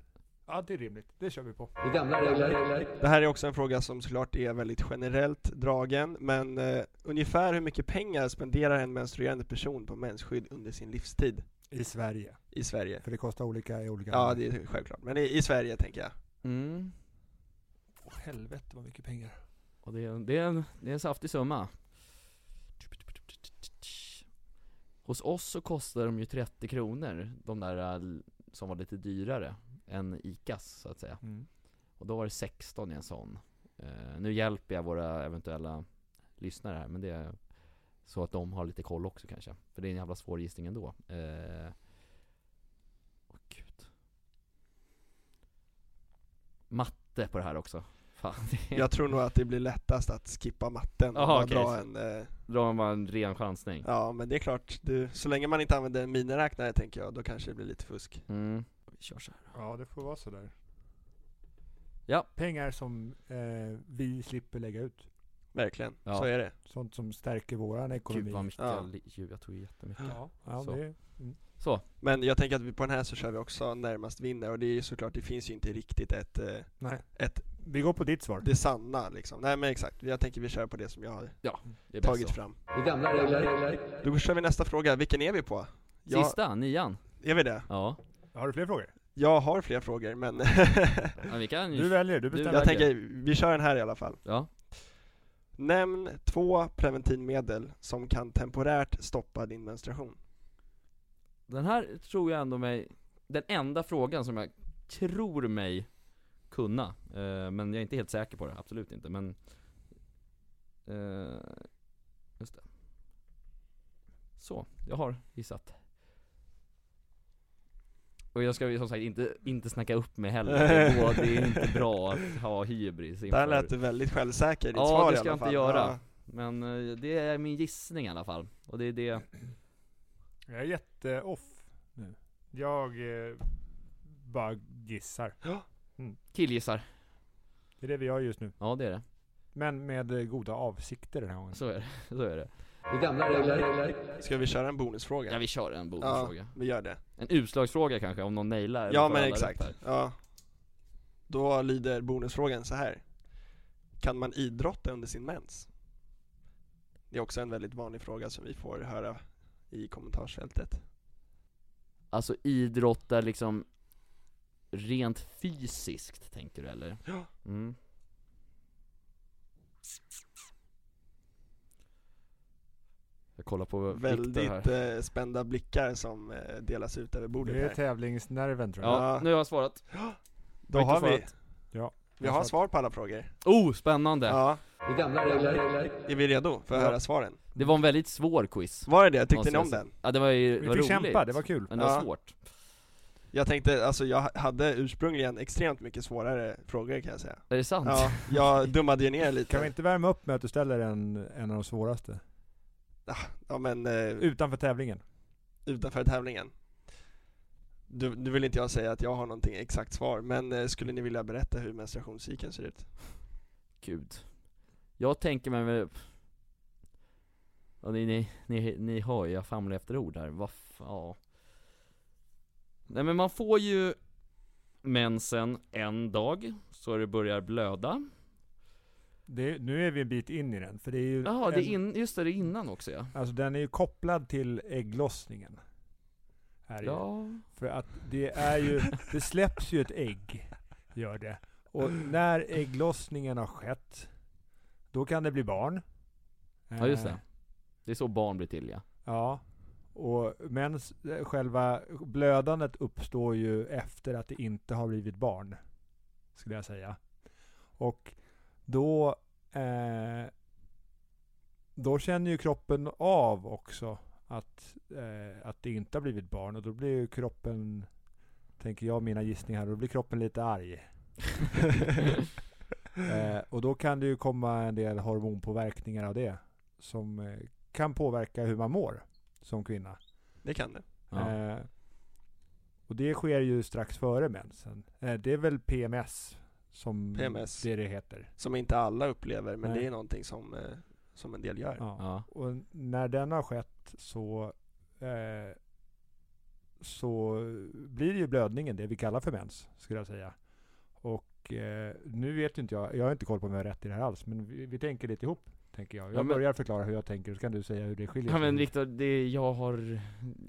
Ja, det är rimligt. Det kör vi på.
Det gamla regler regler.
det här är också en fråga som såklart är väldigt generellt dragen, men eh, ungefär hur mycket pengar spenderar en menstruerande person på mensskydd under sin livstid
I Sverige.
i Sverige?
För det kostar olika i olika
Ja, det är självklart, men i, i Sverige tänker jag.
Mm.
Helvete vad mycket pengar.
Och det är, en- det, är en, det är en saftig summa Hos oss så kostar de ju 30 kronor, de där eh, som var lite dyrare än ICAs så att säga.
Mm.
Och då var det 16 i en sån. Eh, nu hjälper jag våra eventuella lyssnare här, men det är så att de har lite koll också kanske. För det är en jävla svår gissning ändå. Eh, åh gud. Matte på det här också. Fan, det är,
Jag tror nog att det blir lättast att skippa matten
Jaha,
och
okej,
dra
så-
en, eh,
drar man en ren chansning.
Ja men det är klart, du, så länge man inte använder en miniräknare tänker jag, då kanske det blir lite fusk
Mm. Vi kör så här.
Ja, det får vara sådär.
Ja.
Pengar som eh, vi slipper lägga ut.
Verkligen,
Ja.
så är det
Sånt som stärker våran ekonomi.
Gud vad mycket
Ja.
jag, eh, li- ju- jag tog jättemycket.
ja, ja,
Så.
det,
Så,
Men jag tänker att vi på den här så kör vi också närmast vinner och det är ju såklart, det finns ju inte riktigt ett, eh,
nej.
ett
Vi går på ditt svar.
det sanna liksom Nej men exakt, jag tänker vi kör på det som jag har
det är bäst
tagit
så.
fram
gamla regler.
Då kör vi nästa fråga, vilken är vi på? Jag,
Sista, nian.
Är vi det?
Ja.
Har du fler frågor?
Jag har fler frågor men
Men vi kan
Du
ju...
väljer, du bestämmer.
jag
verkar-
tänker, vi kör den här i alla fall
Ja.
Nämn två preventivmedel som kan temporärt stoppa din menstruation.
Den här tror jag ändå mig, den enda frågan som jag tror mig kunna, eh, men jag är inte helt säker på det, absolut inte, men eh, Just det Så, jag har gissat Och jag ska ju som sagt inte, inte snacka upp mig heller, det går- det är inte bra att ha hybris
Där
inför
lät du väldigt självsäker i ditt
Ja,
svar
det
i
ska
alla
jag inte
fall.
göra. Men eh, det är min gissning i alla fall, och det är det
Jag är jätte-off nu. Jag eh, bara gissar.
killgissar,
Det är det vi gör just nu.
ja det är det,
Men med eh, goda avsikter den här gången.
så är det, så är det
gamla regler.
Ja. Ska vi köra en bonusfråga?
Ja vi kör en bonusfråga.
vi gör det.
En utslagsfråga kanske, om någon nailar eller
ja
får
men
alla
exakt.
rätt här.
Ja. Då lyder bonusfrågan så här. Kan man idrotta under sin mens? Det är också en väldigt vanlig fråga som vi får höra i kommentarsfältet.
Alltså idrottar liksom rent fysiskt tänker du eller?
Ja.
Mm. Jag kollar på Viktor här.
Väldigt eh, spända blickar som eh, delas ut över bordet
Det är
här.
tävlingsnerven tror jag.
Ja,
Ja.
nu har jag svarat.
Då
Viktor
har vi,
svarat.
vi har svar på alla frågor.
Oh, spännande!
Ja,
gamla regler.
är vi redo för att
Ja.
höra svaren?
Det var en väldigt svår quiz.
Var det det? Tyckte
Måste
ni om
jag säga.
den?
Ja, det var ju
Vi
var
fick
roligt.
kämpa, det var kul.
Men det var
Ja.
svårt.
Jag tänkte, alltså jag hade ursprungligen extremt mycket svårare frågor kan jag säga.
Är det sant?
Ja, jag dummade ju ner
Kan vi
lite.
inte värma upp med att du ställer en, en av de svåraste?
Ja men eh,
Utanför tävlingen.
utanför tävlingen. Du, nu vill inte jag säga att jag har någonting exakt svar, men eh, skulle ni vilja berätta hur menstruationscykeln ser ut?
Gud Jag tänker mig väl ja, ni, ni, ni, ni hör ju, jag famlar efter ord här, vad f- ja Nej men man får ju mensen en dag, så det börjar blöda
Det, nu är vi en bit in i den. För det är ju
Jaha, det är
en-
in, just det, det är innan också ja
Alltså den är ju kopplad till ägglossningen. Här är ju.
Ja,
För att det är ju, det släpps ju ett ägg, gör det. Och när ägglossningen har skett, då kan det bli barn.
ja just
Eh,
det Det är så barn blir till ja
Ja. Och, men s- själva blödandet uppstår ju efter att det inte har blivit barn. Skulle jag säga. Och då, eh, då känner ju kroppen av också att, eh, att det inte har blivit barn. Och då blir ju kroppen, tänker jag mina gissningar här, då blir kroppen lite arg. Eh, och då kan det ju komma en del hormonpåverkningar av det. Som eh, kan påverka hur man mår som kvinna.
Det kan det.
Ja,
Eh, och det sker ju strax före mensen. Eh, det är väl PMS som
PMS.
det det heter.
Som inte alla upplever, men
Nej.
det är någonting som, eh, som en del gör.
Ja.
ja.
Och när den har skett så, eh, så blir ju blödningen det vi kallar för mens, skulle jag säga. Och eh, nu vet ju inte jag, jag har inte koll på om jag har rätt i det här alls, men vi, vi tänker lite ihop, tänker jag. Jag
Ja, men-
börjar förklara hur jag tänker, så kan du säga hur det skiljer
ja
sig.
men Viktor, det, jag har,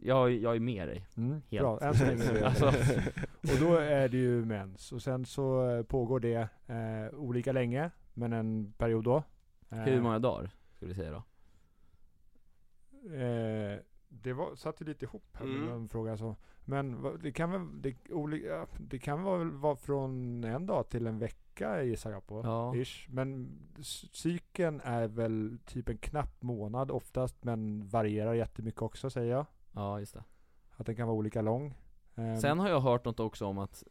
jag, jag är med dig
Mm,
Helt.
Bra, än så länge är det
Alltså.
Och då eh, är det ju mens. Och sen så eh, pågår det eh, olika länge, men en period då. Eh,
Hur många dagar? Skulle vi säga då?
Eh, det var, satt ju lite ihop här
Mm.
med en fråga så. Men vad- det kan väl, det, olika, det kan väl vara från en dag till en vecka gissar jag på.
Ja.
Ish. Men s- cykeln är väl typ en knapp månad oftast, men varierar jättemycket också säger jag.
ja, just det.
Att den kan vara olika lång. Ehm,
Sen har jag hört något också om att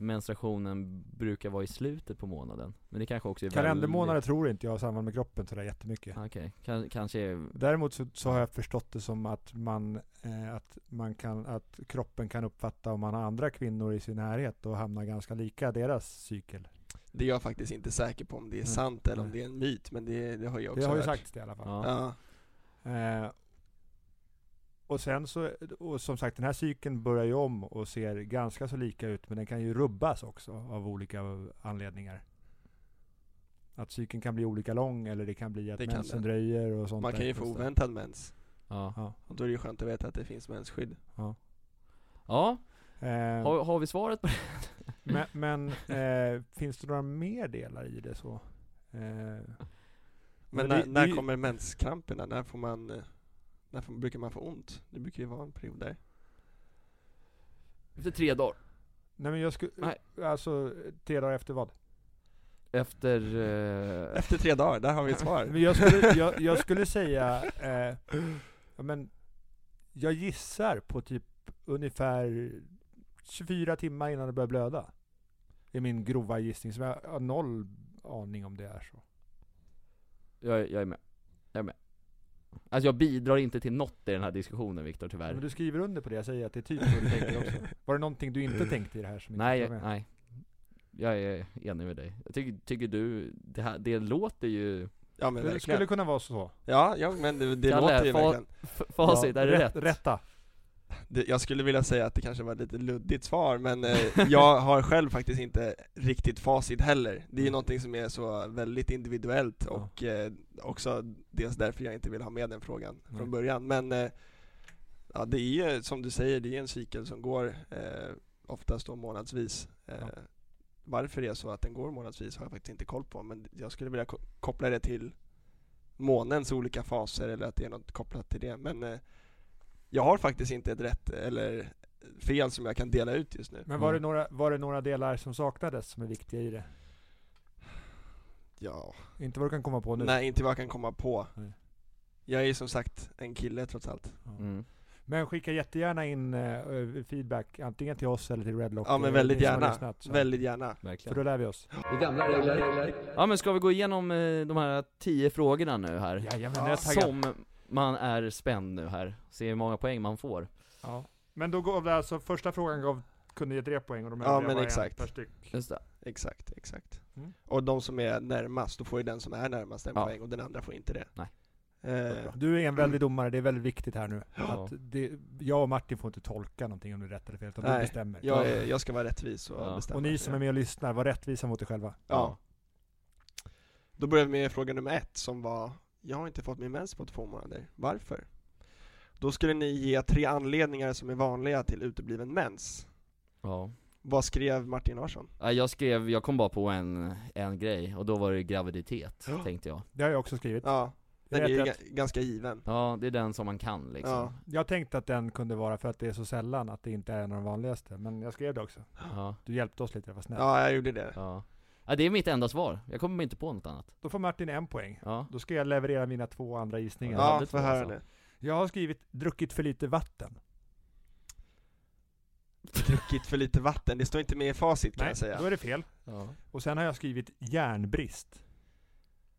menstruationen brukar vara i slutet på månaden. Men det kanske också är
kalendermånader tror inte jag har samband med kroppen sådär jättemycket.
väldigt- Okej, kan, kanske är...
Däremot så, så har jag förstått det som att man, eh, att man kan, att kroppen kan uppfatta om man har andra kvinnor i sin närhet och hamnar ganska lika deras cykel.
Det är jag faktiskt inte säker på om det är
Mm. Nej.
sant eller om det är en myt, men det, det har jag också
Det har ju
hört.
sagts det i alla fall.
Ja.
Ja.
Eh, och sen så, och som sagt den här cykeln börjar ju om och ser ganska så lika ut men den kan ju rubbas också av olika anledningar. Att cykeln kan bli olika lång eller det kan bli att
Det kan
mensen
det.
dröjer och sånt
Man
där.
kan ju få
just det.
oväntad mens,
Ja.
Ja.
och då är det ju skönt att veta att det finns mensskydd.
ja.
Eh,
Har, har vi svaret på det?
Men, men eh, finns det några mer delar i det så? Eh,
Men,
Men det-
när, när
det-
kommer menskramperna? När får man, eh, när får, brukar man få ont? Det brukar ju vara en period där.
Efter tre dagar.
nej men jag skulle,
Nej.
alltså tre dagar efter vad?
Efter... Eh,
Efter tre dagar, där har vi ett svar.
Men jag skulle, jag, jag skulle säga, eh, ja, men jag gissar på typ ungefär 24 timmar innan det börjar blöda. Det är min grova gissning, så jag har noll aning om det är så.
jag, jag är med. Jag är med. Alltså jag bidrar inte till något i den här diskussionen Viktor tyvärr.
Men du skriver under på det jag säger, att det är typ så du tänker också. Var det någonting du inte tänkte i det här som inte
Nej,
var med?
jag, nej. Jag är enig med dig. Jag tycker, tycker du, det, här, det låter ju...
Ja men
Det skulle
verkligen.
kunna vara så.
Ja, ja men det, det
Kalle,
låter ju
fa-
verkligen.
F- facit, är det rätt?
Rätta.
Det, jag skulle vilja säga att det kanske var ett lite luddigt svar, men eh, jag har själv faktiskt inte riktigt facit heller. Det är ju någonting som är så väldigt individuellt
Mm. Ja.
och eh, också dels därför jag inte vill ha med den frågan
Nej.
från början. Men eh, ja, det är ju som du säger, det är en cykel som går eh, oftast då månadsvis. Eh,
Ja.
Varför det är så att den går månadsvis har jag faktiskt inte koll på, men jag skulle vilja ko- koppla det till månens olika faser eller att det är något kopplat till det. Men eh, jag har faktiskt inte ett rätt eller fel som jag kan dela ut just nu.
Men var,
Mm.
det några, var det några delar som saknades som är viktiga i det?
Ja,
Inte vad du kan komma på nu.
nej inte vad jag kan komma på.
Nej.
Jag är ju som sagt en kille trots allt.
Mm.
Men skicka jättegärna in eh, feedback, antingen till oss eller till Redlock.
Ja, men
eh,
väldigt
ni som har
gärna.
lyssnat, så.
Väldigt gärna.
För
Verkligen.
då lär vi oss.
Det gamla regler.
Ja men ska vi gå igenom eh, de här tio frågorna nu här?
Jajamän,
Ja,
jag är taggad.
Som man är spänd nu här, se hur många poäng man får.
Ja. Men då gav det alltså, första frågan gav, kunde ge tre poäng och de
Ja,
övriga
men
bara en
exakt.
per styck.
Just det.
Exakt, exakt.
Mm.
Och de som är närmast, då får ju den som är närmast en
Ja.
poäng och den andra får inte det.
Nej.
Eh,
Du är en väldig domare, det är väldigt viktigt här nu.
Ja.
Att det, jag och Martin får inte tolka någonting om det är rätt eller fel, utan
Nej,
du bestämmer.
jag, är, jag ska vara rättvis och
Ja.
bestämma.
Och ni som är med och lyssnar, var rättvisa mot er själva.
Ja. Då börjar vi med fråga nummer ett som var Jag har inte fått min mens på två månader. Varför? Då skulle ni ge tre anledningar som är vanliga till utebliven mens.
Ja.
Vad skrev Martin Larsson?
Ja, Jag skrev, jag kom bara på en, en grej, och då var det graviditet,
Ja.
tänkte jag.
Det har jag också skrivit.
Ja,
Det
den
är
är ju
rätt,
ga- ganska given.
Ja, det är den som man kan liksom.
Ja.
Jag tänkte att den kunde vara för att det är så sällan att det inte är en av de vanligaste, men jag skrev det också.
Ja.
Du hjälpte oss lite, jag var snäll.
Ja, jag gjorde det.
Ja. ja, det är mitt enda svar. Jag kommer inte på något annat.
Då får Martin en poäng.
Ja.
Då ska jag leverera mina två andra gissningar.
Ja,
Ja,
det
får
tror jag
höra
så.
nu.
Jag har skrivit druckit för lite vatten.
Druckit för lite vatten, det står inte med i facit kan
Nej,
jag säga.
då är det fel.
Ja.
Och sen har jag skrivit järnbrist.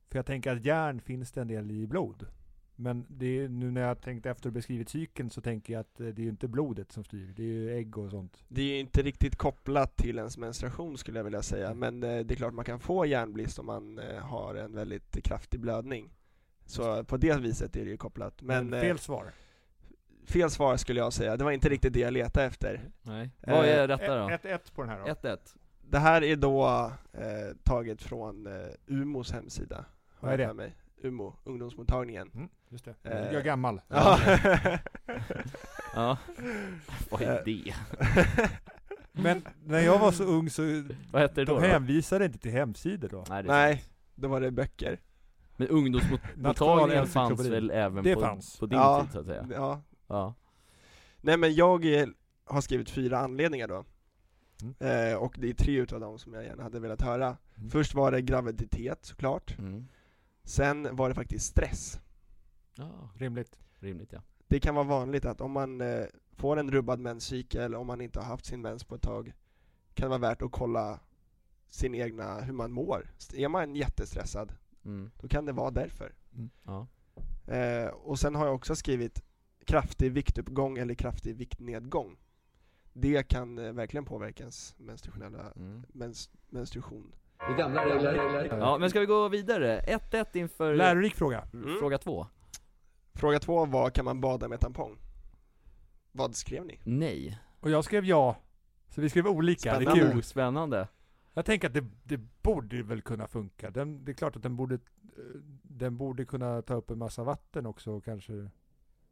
För jag tänker att järn finns det en del i blod. Men det är, nu när jag tänkte efter och beskrivit cykeln så tänker jag att eh, det är ju inte blodet som styr, det är ju ägg och sånt.
Det är ju inte riktigt kopplat till ens menstruation skulle jag vilja säga, men eh, det är klart man kan få järnbrist om man eh, har en väldigt kraftig blödning. Så på det viset är det ju kopplat. Men,
Men,
eh,
fel svar.
fel svar skulle jag säga, det var inte riktigt det jag letade efter.
Nej.
Eh,
Vad är detta då?
1-1 på den här då.
1-1.
Det här är då eh, taget från eh, Umos hemsida. har
Vad är det?
jag för mig. Umo, ungdomsmottagningen.
Mm, just det.
Eh,
jag är gammal.
Ja.
Ja. Vad
Eh,
är det?
Men när jag var så ung så
Vad heter det då?
de
då?
hänvisade inte till hemsidor då.
Nej, det är sant.
Nej, då var det böcker.
Men ungdomsmottagningen fanns
Nationalencyklopedin.
väl även
Det
på,
fanns.
på din
Ja.
tid så att säga?
Ja,
Ja.
Nej men jag eh, har skrivit fyra anledningar då.
Mm.
Eh, och det är tre utav dem som jag gärna hade velat höra.
Mm.
Först var det graviditet såklart.
Mm.
Sen var det faktiskt stress.
ja.
Rimligt.
Rimligt ja.
Det kan vara vanligt att om man eh, får en rubbad menscykel, om man inte har haft sin mens på ett tag, kan det vara värt att kolla sin egna, hur man mår. Är man jättestressad,
Mm.
då kan det vara därför.
Ja.
Eh, och sen har jag också skrivit kraftig viktuppgång eller kraftig viktnedgång. Det kan eh, verkligen påverka ens menstruationella
Mm.
mens, menstruation.
Det gamla regler.
ja, men ska vi gå vidare? 1-1 inför
Lärorik fråga.
Mm.
fråga två.
Fråga två var, kan man bada med tampong? Vad skrev ni?
Nej. Oh,
Och jag skrev ja. Så vi skrev olika, det är
Spännande.
kul.
Ospännande.
Jag tänker att det, det borde ju väl kunna funka. Den, det är klart att den borde, eh, den borde kunna ta upp en massa vatten också och kanske.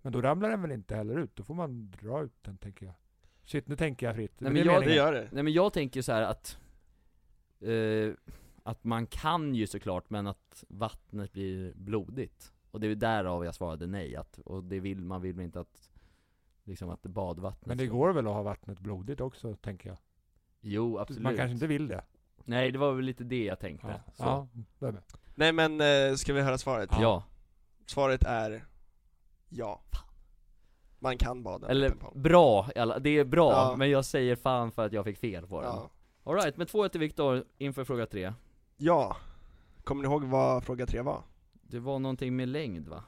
Men då ramlar den väl inte heller ut? Då får man dra ut den tänker jag. Shit, nu tänker jag fritt.
Nej,
det är
men jag-
meningen.
Det gör det.
Nej men jag tänker så här att eh, Att man kan ju såklart men att vattnet blir blodigt Och det är därav jag svarade nej att, och det vill, man vill väl inte att Liksom att badvattnet
Men det
ska-
går väl att ha vattnet blodigt också, tänker jag.
Jo absolut
Man kanske inte vill det.
Nej det var väl lite det jag tänkte
Ja,
Så.
ja det är med.
Nej men, eh, ska vi höra svaret?
Ja.
Svaret är ja. Man kan bada med
eller
tampong.
bra, i alla- det är bra,
Ja.
men jag säger fan för att jag fick fel på den
Ja.
Alright, med 2-1 till Viktor inför fråga 3
ja. Kommer ni ihåg vad fråga tre var?
Det var någonting med längd va?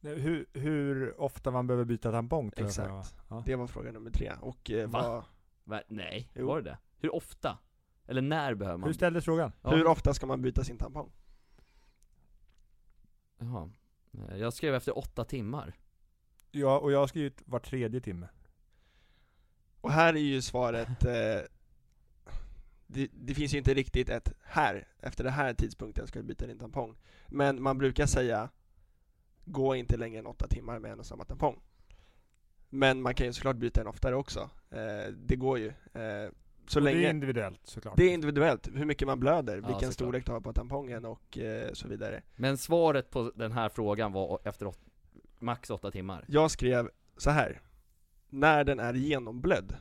Nej, Hur, hur ofta man behöver byta tampong tror jag.
Exakt.
va? Ja.
Det var fråga nummer tre. Och eh,
Va?
vad,
Va? Nej,
Jo.
var det det? Hur ofta? Eller när behöver man?
Hur ställdes frågan?
Ja.
hur ofta ska man byta sin tampong?
Jaha. Eh, Jag skrev efter åtta timmar.
Ja, och jag har skrivit var tredje timme.
Och här är ju svaret eh, det, det finns ju inte riktigt ett här, efter den här tidpunkten ska du byta din tampong. Men man brukar säga gå inte längre än åtta timmar med en och samma tampong. Men man kan ju såklart byta den oftare också. Eh, det går ju. Eh, så
och det är
länge,
individuellt såklart.
det är individuellt, hur mycket man blöder, vilken
såklart.
storlek du har på tampongen och eh, så vidare.
Men svaret på den här frågan var efter åt, max åtta timmar.
Jag skrev så här. När den är genomblödd.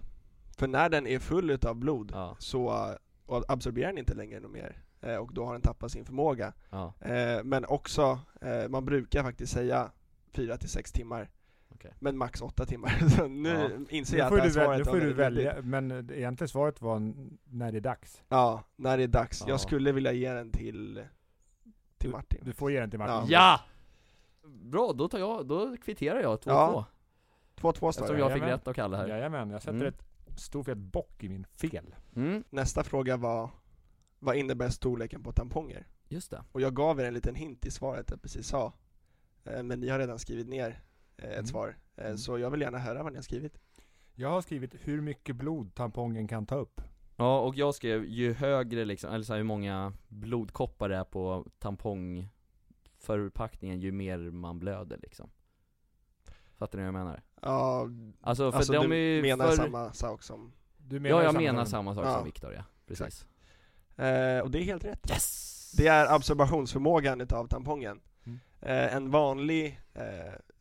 För när den är full av blod
Ja,
så eh, och absorberar den inte längre något mer eh, och då har den tappat sin förmåga.
ja,
Eh, Men också, eh, man brukar faktiskt säga 4 till 6 timmar.
Okej.
Men max 8 timmar. Så nu inser
Nu
jag
får,
att det
du,
här
väl, nu
svaret
får du
väldigt luddigt.
välja, men eh, egentligen svaret var n- när det är dags.
Ja, när det är dags.
Ja.
Jag skulle vilja ge den till, till Martin.
Du får ge den till Martin.
Ja.
ja! Bra, då tar jag, då kvitterar jag 2-2.
Ja, 2-2 står
Eftersom
det.
jag fick
jajamän.
rätt av Kalle här.
Jajamän, jag sätter
Mm.
ett stor fet bock i min fel.
Mm,
Nästa fråga var, vad innebär storleken på tamponger?
just det.
Och jag gav er en liten hint i svaret jag precis sa. Eh, Men ni har redan skrivit ner eh, ett
Mm.
svar. Eh,
Mm.
Så jag vill gärna höra vad ni har skrivit.
Jag har skrivit hur mycket blod tampongen kan ta upp.
Ja, och jag skrev ju högre liksom, eller så här, hur många blodkoppar det är på tampongförpackningen, ju mer man blöder liksom. Fattar ni vad jag menar?
Ja,
Alltså för
alltså
de
du
är ju
menar
för...
samma sak som...
Du
Ja,
ju
jag
samma
menar
sak.
samma sak
Ja.
som Viktor ja, precis.
Eh, och det är helt rätt.
Yes!
Det är absorbationsförmågan utav tampongen.
Mm.
Eh, en vanlig eh,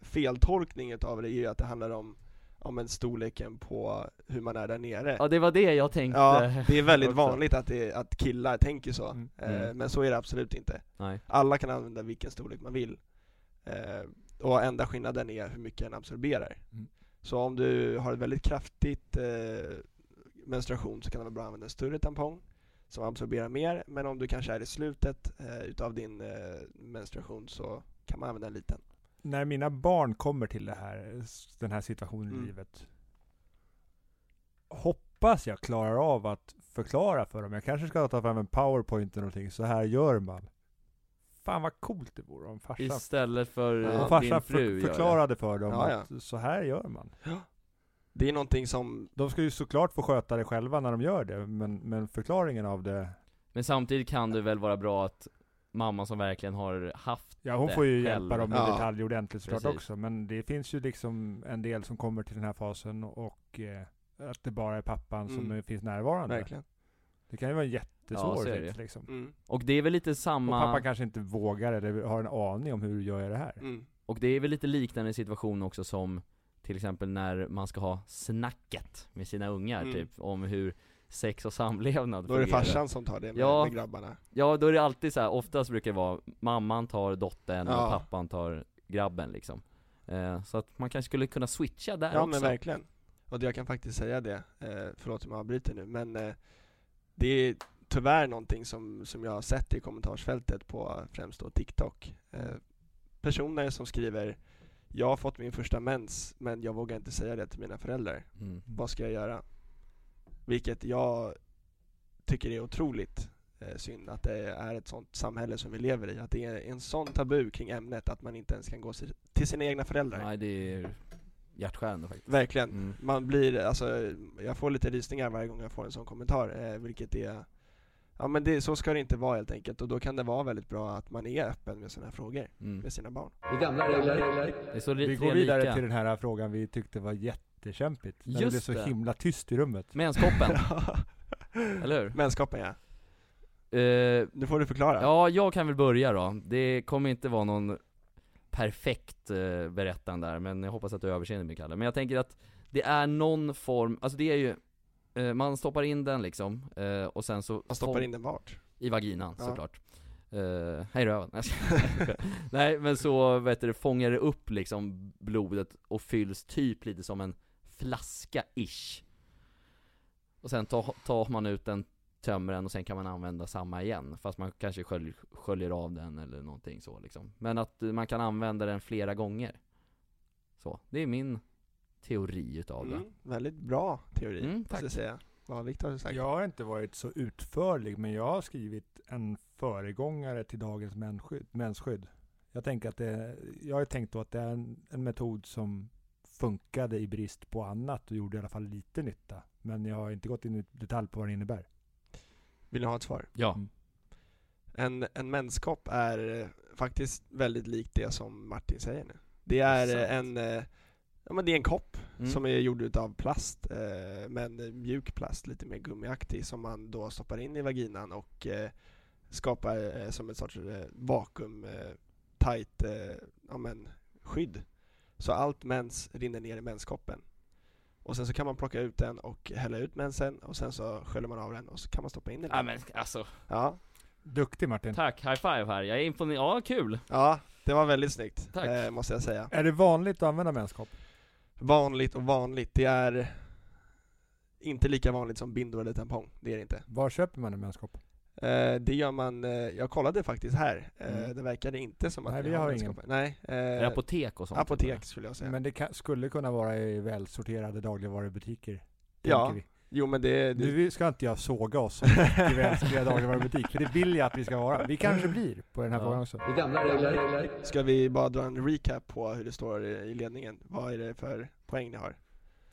feltolkning utav det är ju att det handlar om, om en storleken på hur man är där nere.
Ja det var det jag tänkte.
Ja, det är väldigt
också.
vanligt att, det, att killar tänker så,
Mm.
eh,
Mm.
men så är det absolut inte.
Nej.
Alla kan använda vilken storlek man vill. Eh, och enda skillnaden är hur mycket den absorberar.
Mm.
Så om du har ett väldigt kraftigt eh, menstruation så kan det vara bra att använda en större tampong som absorberar mer, men om du kanske är i slutet eh, utav din eh, menstruation så kan man använda en liten.
När mina barn kommer till det här, s- den här situationen i
Mm.
livet hoppas jag klarar av att förklara för dem. Jag kanske ska ta fram en powerpoint eller någonting. Så här gör man. Fan vad coolt det vore om farsan,
Istället för
Ja.
eh,
om farsan
din fru
för,
gör det.
förklarade för dem
Ja, ja.
att så här gör man.
Det är någonting som,
De ska ju såklart få sköta det själva när de gör det, men, men förklaringen av det...
Men samtidigt kan det väl vara bra att mamma som verkligen har haft
Ja, hon
Det
får ju
själv.
hjälpa dem med
Ja.
detaljer ordentligt såklart
Precis.
också, men det finns ju liksom en del som kommer till den här fasen och eh, att det bara är pappan som
Mm.
eh, finns närvarande.
verkligen.
Det kan ju vara en
Ja, så
jättesvår
är det
sits
ju.
liksom.
Mm,
Och det är väl lite
Och
samma,
pappa kanske inte vågar eller har en aning om hur gör jag det här.
mm,
och det är väl lite liknande situation också som till exempel när man ska ha snacket med sina ungar
Mm.
typ, om hur sex och samlevnad
Då är det
fungerar.
farsan som tar det med,
Ja.
med grabbarna
Ja, då är det alltid så här. oftast brukar det vara mamman tar dottern och
Ja.
pappan tar grabben liksom. Eh, så att man kanske skulle kunna switcha där
Ja
också.
men verkligen. Och jag kan faktiskt säga det, eh, förlåt om jag avbryter nu, men eh, det är tyvärr någonting som, som jag har sett i kommentarsfältet på främst då TikTok. Eh, personer som skriver jag har fått min första mens men jag vågar inte säga det till mina föräldrar.
Mm.
Vad ska jag göra? Vilket jag tycker är otroligt eh, synd att det är ett sånt samhälle som vi lever i. Att det är en sån tabu kring ämnet att man inte ens kan gå si- till sina egna föräldrar.
Nej, det är hjärtskärande faktiskt.
Verkligen.
Mm.
Man blir, alltså jag får lite rysningar varje gång jag får en sån kommentar, eh, vilket är Ja men det, så ska det inte vara helt enkelt och då kan det vara väldigt bra att man är öppen med sådana här frågor
Mm.
med sina barn.
Vi gamla regler gäller.
Det är så
Vi
li-
går
tre
vidare
lika.
till den här frågan vi tyckte var jättekämpigt. När det
Just
blev så
det.
himla tyst i rummet.
Menskoppen, eller hur?
Vänskapen ja.
Eh,
Nu får du förklara.
ja, jag kan väl börja då. Det kommer inte vara någon perfekt eh, berättande där, men jag hoppas att du överseende med Kalle. Men jag tänker att det är någon form, alltså det är ju, eh, man stoppar in den liksom, eh, och sen så
Man stoppar in den vart?
I vaginan
Ja.
såklart. Uh, hej röven. Nej, jag skojar. Nej men så vet du, det fångar det upp liksom blodet och fylls typ lite som en flaska-ish. Och sen tar, tar man ut den, tömmer den och sen kan man använda samma igen. Fast man kanske skölj, sköljer av den eller någonting så liksom. Men att eh, man kan använda den flera gånger. Så, det är min teori utav det.
Mm, väldigt bra teori,
Mm,
måste jag
tack.
säga. Vad Viktor har sagt.
Jag har inte varit så utförlig, men jag har skrivit en föregångare till dagens mensskydd. mensskydd. Jag, tänker att det, jag har ju tänkt då att det är en, en metod som funkade i brist på annat och gjorde i alla fall lite nytta. Men jag har inte gått in i detalj på vad det innebär. Mm.
Vill ni ha ett svar?
Ja.
En, en menskopp är eh, faktiskt väldigt likt det som Martin säger nu. Det är eh,
Sant.
en, eh, ja men det är en kopp
Mm.
som är gjord utav plast, eh, men mjuk plast, lite mer gummiaktig, som man då stoppar in i vaginan och eh, skapar eh, som ett sorts eh, vakuum, eh, tight, eh, ja men, skydd. Så allt mens rinner ner i menskoppen. Och sen så kan man plocka ut den och hälla ut mensen och sen så sköljer man av den och så kan man stoppa in den.
Ja men alltså,
Ja,
Duktig Martin!
tack, high five här. Jag är imponerad, ja kul.
ja, det var väldigt snyggt,
Tack.
eh, måste jag säga.
Är det vanligt att använda menskopp?
Vanligt och vanligt, det är inte lika vanligt som bindor eller tampong, det är det inte.
Var köper man en menskopp?
Eh, det gör man, eh, jag kollade faktiskt här, eh,
Mm.
det verkade inte som att
Nej,
ni
vi har ingen.
vänskaper. Nej,
Är det
eh,
apotek typ. och sånt?
apotek skulle jag säga.
Men det kan, skulle kunna vara i välsorterade dagligvarubutiker.
Ja,
tänker vi.
jo men det, det
Nu ska inte jag såga oss som i välsorterade dagligvarubutik, för det vill jag att vi ska vara. Vi kanske blir på den här
Ja.
frågan också.
Vi gamla regler gäller.
ska vi bara dra en recap på hur det står i i ledningen. Vad är det för poäng ni har?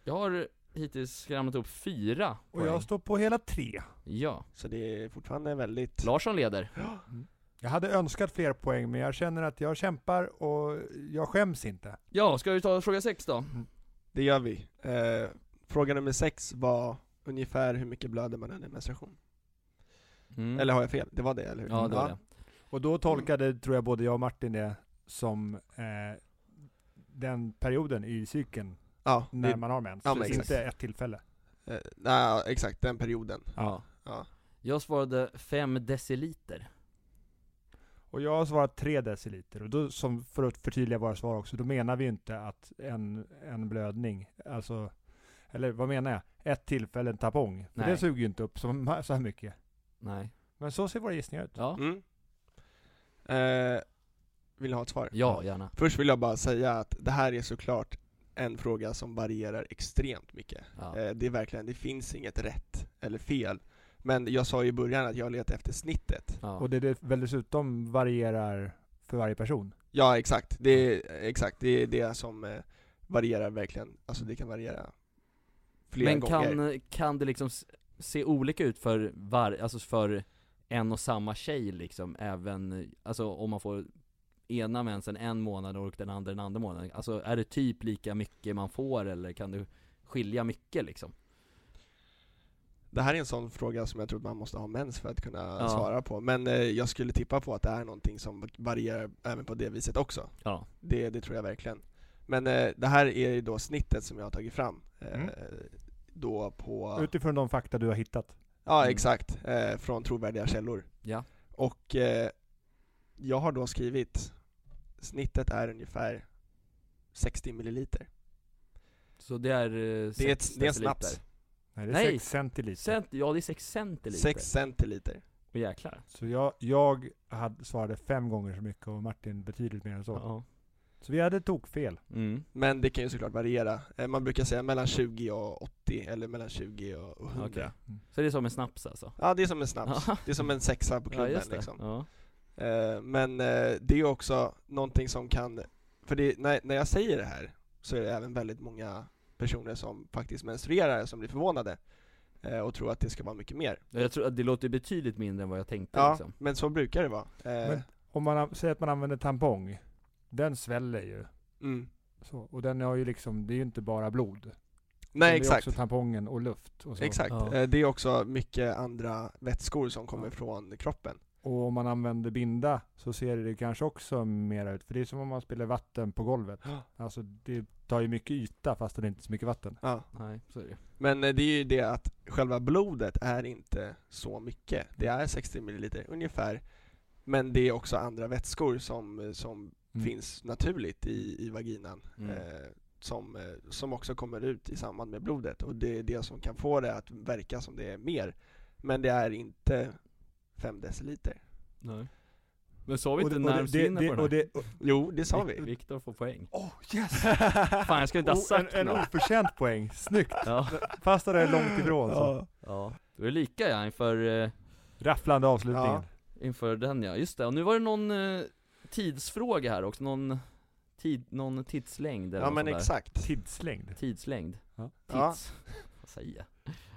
Jag har hittills ramlat upp fyra
Och jag står på hela tre.
Ja,
Så det är fortfarande väldigt...
Larsson leder
Jag hade önskat fler poäng, men jag känner att jag kämpar och jag skäms inte.
Ja, ska vi ta fråga sex då?
Det gör vi. Eh, fråga nummer sex var ungefär hur mycket blöder man under menstruation?
Mm.
Eller har jag fel? Det var det, eller hur?
Ja, det var det
Och då tolkade, tror jag, både jag och Martin det som eh, den perioden i cykeln
Ja,
när
det,
man har mens.
Ja,
Så
men exakt.
inte ett tillfälle.
eh, nej, exakt, den perioden.
Ja.
Ja.
Jag svarade fem deciliter
Och jag har svarat 3 deciliter. Och då, som för att förtydliga våra svar också, då menar vi ju inte att en, en blödning, alltså, eller vad menar jag? Ett tillfälle, en tampong. För
Nej.
det suger ju inte upp så, så här mycket.
Nej
Men så ser våra gissningar ut.
Ja,
Mm. Eh, vill ni ha ett svar?
ja gärna
Först vill jag bara säga att det här är såklart en fråga som varierar extremt mycket.
ja.
Eh, Det är verkligen, det finns inget rätt eller fel. Men jag sa ju i början att jag letar efter snittet.
Ja.
Och det, det väl dessutom varierar för varje person.
Ja, exakt. Det är, exakt. Det är det som eh, varierar verkligen. Alltså det kan variera flera
Men
gånger.
kan, kan det liksom s- se olika ut för var, alltså för en och samma tjej liksom, även, alltså om man får ena mensen en månad och den andra den andra månaden, alltså är det typ lika mycket man får eller kan du skilja mycket liksom?
Det här är en sån fråga som jag tror att man måste ha mens för att kunna
Ja.
svara på. Men eh, jag skulle tippa på att det är någonting som varierar även på det viset också.
Ja,
Det, det tror jag verkligen. Men eh, det här är ju då snittet som jag har tagit fram. Eh,
Mm.
Då på...
Utifrån de fakta du har hittat.
Ja,
Mm.
exakt. Eh, från trovärdiga källor.
Ja.
Och eh, jag har då skrivit, snittet är ungefär 60 milliliter.
Så det är... eh,
Det är,
sex
ett, det är en
deciliter.
snaps.
Nej, det är
Nej.
6 centiliter.
Cent, ja det är 6 centiliter.
6 centiliter.
Åh, jäklar.
Så jag, jag hade, svarade fem gånger så mycket och Martin betydligt mer än så.
Ja.
Så vi hade tokfel.
Mm.
Men det kan ju såklart variera. Eh, man brukar säga mellan 20 och 80 eller mellan 20 och och 100.
Okej. Så det är som en snaps alltså?
Ja, det är som en snaps.
Ja.
Det är som en sexa
Ja
på klubben
just det.
liksom.
Ja.
Eh, men eh, det är ju också någonting som kan, för det, när, när jag säger det här så är det även väldigt många personer som faktiskt menstruerar som blir förvånade eh, och tror att det ska vara mycket mer.
Jag tror att det låter betydligt mindre än vad jag tänkte
Ja,
liksom.
men så brukar det vara. Eh,
Men- Om man an- säger att man använder tampong, den sväller ju.
mm.
Så, och den har ju liksom, det är ju inte bara blod.
Nej
det
exakt,
är också tampongen och luft. Och, så.
exakt.
Ja.
Eh, det är också mycket andra vätskor som kommer
Ja.
från kroppen.
och om man använder binda så ser det kanske också mer ut. För det är som om man spiller vatten på golvet.
Ja.
Alltså det tar ju mycket yta fast det är inte så mycket vatten.
Ja.
Nej, så är det
Men eh, det är ju det att själva blodet är inte så mycket. Det är 60 milliliter ungefär. Men det är också andra vätskor som, eh, som
Mm.
finns naturligt i, i vaginan
Mm.
eh, som, eh, som också kommer ut i samband med blodet och det är det som kan få det att verka som det är mer. Men det är inte 5 deciliter.
Nej. Men sa vi
Och
inte
det-
när
och
vi
det-
skulle inne på
det- och
den här?
det- och-
Jo, det sa vi.
Viktor får poäng.
Åh yes!
Fan jag skulle inte ha
Oh,
sagt
en, en
något.
oförtjänt poäng, snyggt!
Ja.
Fast det är långt ifrån så.
ja. Då är det lika ja, inför, eh,
Rafflande avslutningen.
Ja.
inför den ja. Just det, och nu var det någon eh, tidsfråga här också, någon, tid, någon tidslängd eller
Ja
något
men
sånt där.
exakt.
Tidslängd.
Tidslängd.
Ja.
Ja.
Tids. Vad säger jag?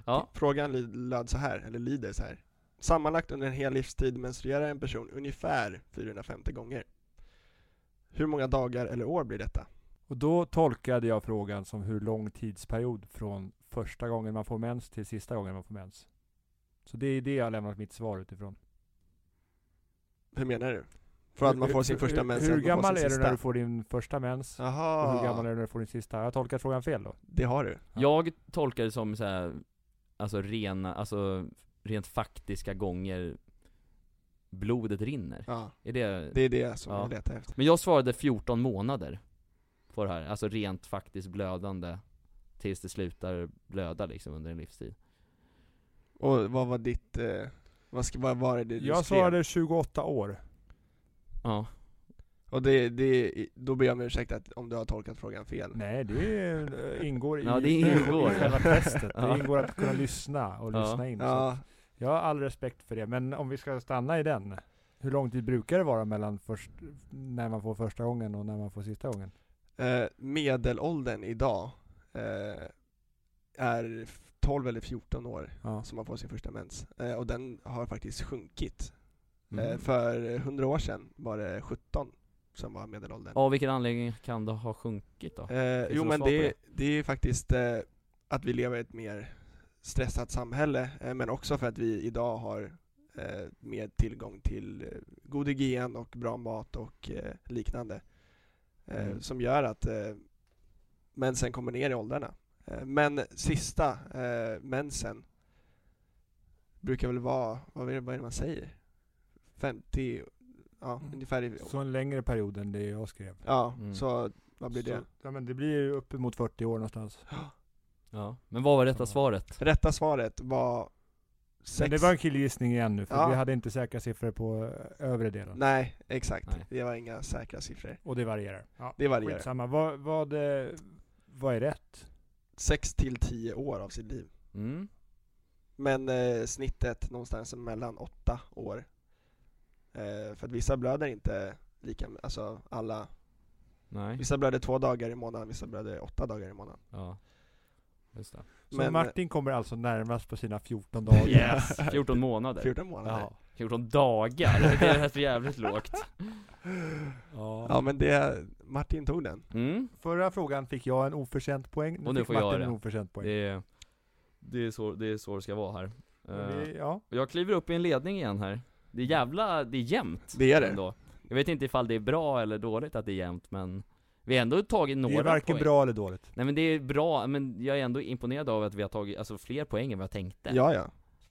Ja.
Frågan lyd- löd så här, eller lyder så här. Sammanlagt under en hel livstid menstruerar en person ungefär 450 gånger. Hur många dagar eller år blir detta?
Och då tolkade jag frågan som hur lång tidsperiod från första gången man får mens till sista gången man får mens. Så det är det jag har lämnat mitt svar utifrån.
Hur menar du? För att man
Hur-
får sin
hur-
första
hur-
mens
Hur
eller man får
gammal
sin
är du när
sista?
du får din första mens? Och
Jaha,
hur gammal är du när du får din sista? Jag tolkar frågan fel då.
det har du.
Ja.
Jag tolkar det som så här, alltså rena, alltså rent faktiska gånger blodet rinner.
Ja,
Är det...
det är det som
Ja.
jag letar efter.
Men jag svarade 14 månader på det här, alltså rent faktiskt blödande tills det slutar blöda liksom under en livstid.
Och vad var ditt, eh, vad, ska, vad var det du
Jag
skrev?
svarade 28 år.
Ja,
Och det, det, då ber jag om ursäkt att, om du har tolkat frågan fel.
Nej, det eh, ingår i,
Ja, det ingår.
i själva testet.
Ja.
Det ingår att kunna lyssna och
Ja.
lyssna in. Så
Ja,
Jag har all respekt för det, men om vi ska stanna i den. Hur lång tid brukar det vara mellan först, när man får första gången och när man får sista gången?
eh, medelåldern idag eh, är 12 eller 14 år
Ja.
som man får sin första mens. Eh, och den har faktiskt sjunkit. Eh,
Mm.
för 100 år sedan var det 17 som var medelåldern.
av vilken anledning kan det ha sjunkit då?
Eh,
Finns
jo
det
men
något svar på
det, det är ju faktiskt eh, att vi lever i ett mer stressat samhälle, eh, men också för att vi idag har eh, mer tillgång till eh, god hygien och bra mat och eh, liknande. Eh,
Mm.
Som gör att eh, mensen kommer ner i åldrarna. Eh, men sista eh, mensen brukar väl vara, vad är det, vad är det man säger? 50, ja
Mm.
ungefär i,
Så en längre period än det jag skrev.
ja
Mm.
så vad blir det?
Så, ja, men det blir ju uppemot 40 år någonstans.
Ja. Men vad var rätta
Ja.
svaret?
Rätta svaret var sex.
Men det var en killgissning igen nu, för
Ja.
vi hade inte säkra siffror på eh, övre delen.
Nej, exakt.
Nej.
Det var inga säkra siffror.
Och det varierar. Ja,
Det varierar.
skitsamma. Vad, vad, eh, vad är rätt?
6 till 10 år av sitt liv.
Mm.
Men eh, snittet någonstans mellan 8 år. Eh, för att vissa blöder inte lika, alltså alla.
Nej,
Vissa blöder två dagar i månaden, vissa blöder åtta dagar i månaden.
ja. Just det.
Så
Men- eh,
Martin kommer alltså närmast på sina 14 dagar.
Yes, 14 månader.
14 eh, månader.
Ja. 14 dagar, det är rätt jävligt lågt.
Ja.
Ja men det, Martin tog den.
Mm.
Förra frågan fick jag en oförtjänt poäng, nu,
Och nu
fick
får jag
Martin
det.
en oförtjänt poäng.
Det är, det är så det är så det ska vara här.
Men
Eh,
vi- ja.
Och jag kliver upp i en ledning igen här. Det är jävla, det är jämnt.
Det är det.
Ändå. Jag vet inte ifall det är bra eller dåligt att det är jämnt men Vi har ändå tagit några
Det är varken
poäng.
bra eller dåligt.
Nej men det är bra, men jag är ändå imponerad av att vi har tagit, alltså fler poäng än vad jag tänkte
Ja, ja.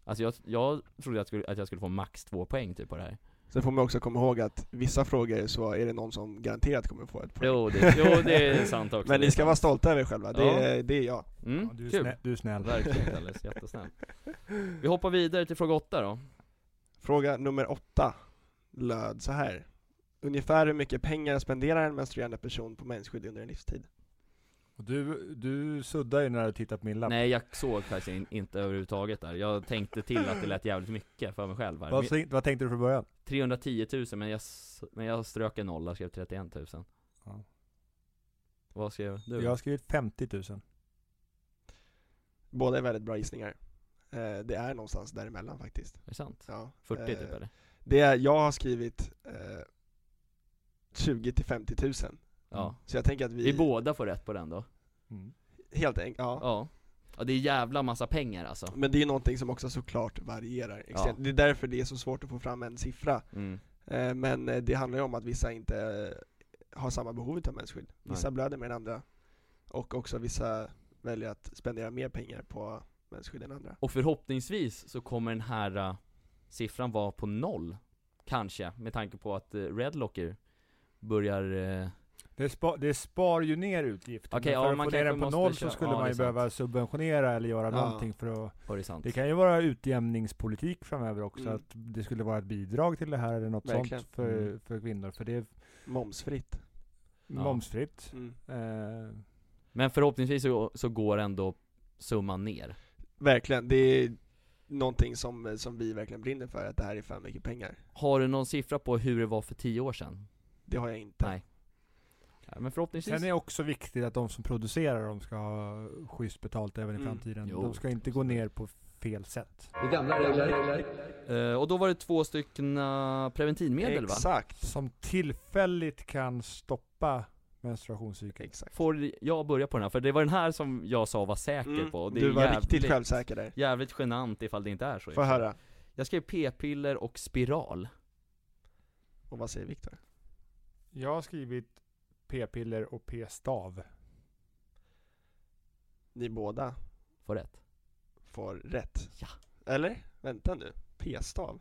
Alltså jag, jag trodde att jag, skulle, att jag skulle få max två poäng typ på det här
Sen får man också komma ihåg att vissa frågor så är det någon som garanterat kommer få ett poäng.
Jo det, jo, det är sant också
Men
det är
ni ska vara
sant.
stolta över er själva, det,
Ja.
är, det är jag.
mm,
Ja, du, är
kul.
snäll, du är snäll.
Verkligen Alice, jättesnäll Vi hoppar vidare till fråga åtta då
Fråga nummer åtta löd så här. Ungefär hur mycket pengar spenderar en menstruerande person på mensskydd under en livstid?
Och Du, du suddar ju när du tittar på min lapp.
Nej jag såg faktiskt in, inte överhuvudtaget där, jag tänkte till att det lät jävligt mycket för mig själv här.
Vad,
Men-
sä- vad tänkte du från början?
310 000 men jag, s- men jag strök en nolla, skrev 31 000
Ja.
Vad skrev du?
Jag har skrivit 50 000.
Båda är väldigt bra gissningar. Eh, det är någonstans däremellan faktiskt.
Är det sant?
Ja.
40
eh,
typ eller?
Det är, jag har skrivit eh, 20 till 50 000.
Ja
Så jag tänker att vi...
Vi båda får rätt på den då?
Mm.
Helt enkelt, ja.
Ja Ja det är jävla massa pengar alltså
Men det är ju någonting som också såklart varierar extremt. Det är därför det är så svårt att få fram en siffra.
mm.
Eh, men eh, det handlar ju om att vissa inte eh, har samma behov av mensskydd. Vissa
Nej.
blöder mer än andra. Och också vissa väljer att spendera mer pengar på mensskydd än andra.
Och förhoppningsvis så kommer den här eh, siffran vara på noll Kanske, med tanke på att uh, Redlocker börjar eh,
Det, spa, det spar ju ner utgifter.
Okej,
men
ja,
för
man
att få ner den
kanske
på
måste
noll
köra-
så skulle
ja, det
man
är
ju
sant.
behöva subventionera eller göra
Ja.
någonting för att...
horisont
Det kan ju vara utjämningspolitik framöver också,
Mm.
att det skulle vara ett bidrag till det här eller något
Verkligen.
sånt för,
Mm.
för kvinnor. För det är
Momsfritt.
Ja.
momsfritt.
Mm.
Eh,
Men förhoppningsvis så, så går ändå summan ner
Verkligen, det är någonting som, eh, som vi verkligen brinner för, att det här är för mycket pengar.
Har du någon siffra på hur det var för 10 år sedan?
Det har jag inte.
Nej. Ja, men förhoppningsvis
sen är det också viktigt att de som producerar dem ska ha schysst betalt även i
Mm.
framtiden.
Jo.
De ska inte gå ner på fel sätt.
Det gamla regler.
Eh, och då var det två stycken eh, preventivmedel va?
Exakt.
Som tillfälligt kan stoppa menstruationscykeln.
Exakt.
Får jag börja på den här? För det var den här som jag sa var säker
Mm,
på och det
Du
är
var
jävligt,
riktigt självsäker där.
Jävligt genant ifall det inte är så
Får jag höra.
Jag skrev p-piller och spiral
Och vad säger Viktor?
Jag har skrivit p-piller och p-stav.
Ni båda
Får rätt
får rätt.
Ja.
Eller? Vänta nu. P-stav?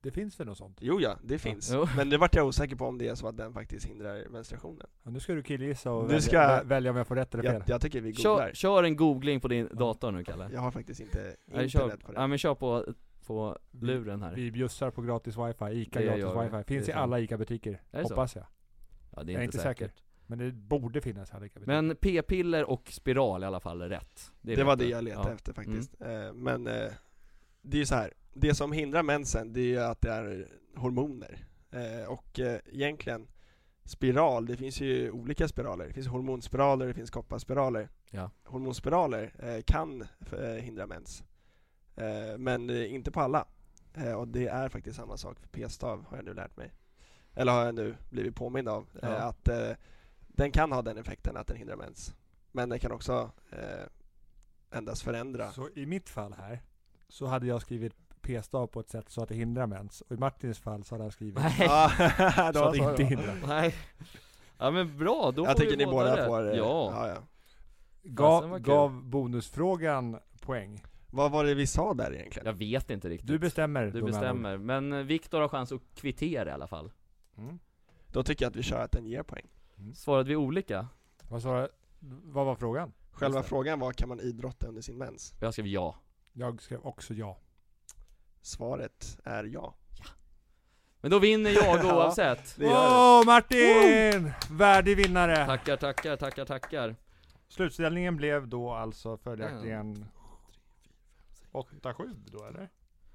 Det finns väl något sånt?
Jo ja, det finns.
Jo.
Men det vart jag osäker på om det är så att den faktiskt hindrar menstruationen.
Ja, nu ska du killgissa
Du
och välja,
ska-
vä- välja om jag får rätt eller fel.
Jag, jag tycker vi
kör,
googlar.
kör en googling på din dator nu Kalle
Jag har faktiskt inte
Nej,
internet
kör,
på
ja,
det.
men kör på, på luren här
Vi bjussar på gratis wifi, ICA
Det
gratis
gör vi.
wifi.
Det
Finns
är
i
sant.
alla ICA-butiker,
Är det så?
hoppas jag.
Ja det är
jag är
inte
inte säker.
säkert
Men det borde finnas i alla ICA-butiker.
Men p-piller och spiral i alla fall är rätt är
Det var
rätt.
det jag letade
Ja. Mm.
efter faktiskt. Eh, Men eh, det är ju så här. det som hindrar mensen det är ju att det är hormoner. Eh, Och eh, egentligen spiral, det finns ju olika spiraler. Det finns hormonspiraler, det finns kopparspiraler.
Ja.
Hormonspiraler eh, kan eh, hindra mens. Eh, Men eh, inte på alla. Eh, Och det är faktiskt samma sak för p-stav har jag nu lärt mig. Eller har jag nu blivit påmind av. eh,
Ja.
Att eh, den kan ha den effekten att den hindrar mens. Men den kan också eh, endast förändra.
Så i mitt fall här, så hade jag skrivit p-stav på ett sätt så att det hindrar mens. Och i Martins fall så hade han skrivit
Nej,
Ja, det
så
var
att det
det
inte
inte.
hindrar.
nej Ja men bra, då
Jag
får vi
tycker ni båda
rätt.
får... eh,
Ja,
ja, ja.
Fasen
Gav,
vad kul.
gav bonusfrågan poäng?
Vad var det vi sa där egentligen?
jag vet inte riktigt
Du bestämmer.
Du
då, med andra ord.
bestämmer, men eh, Viktor har chans att kvittera i alla fall
Mm.
Då tycker jag att vi kör att den ger poäng.
Svarade vi olika?
Vad, sa, vad var frågan?
Själva
Just det.
frågan var, kan man idrotta under sin mens?
Jag skrev ja
Jag skrev också ja.
Svaret är ja.
Men då vinner jag
Ja.
oavsett
Det gör det.
Åh Martin! Värdig vinnare!
Tackar, tackar, tackar, tackar
Slutställningen blev då alltså följaktligen 8-7 då eller?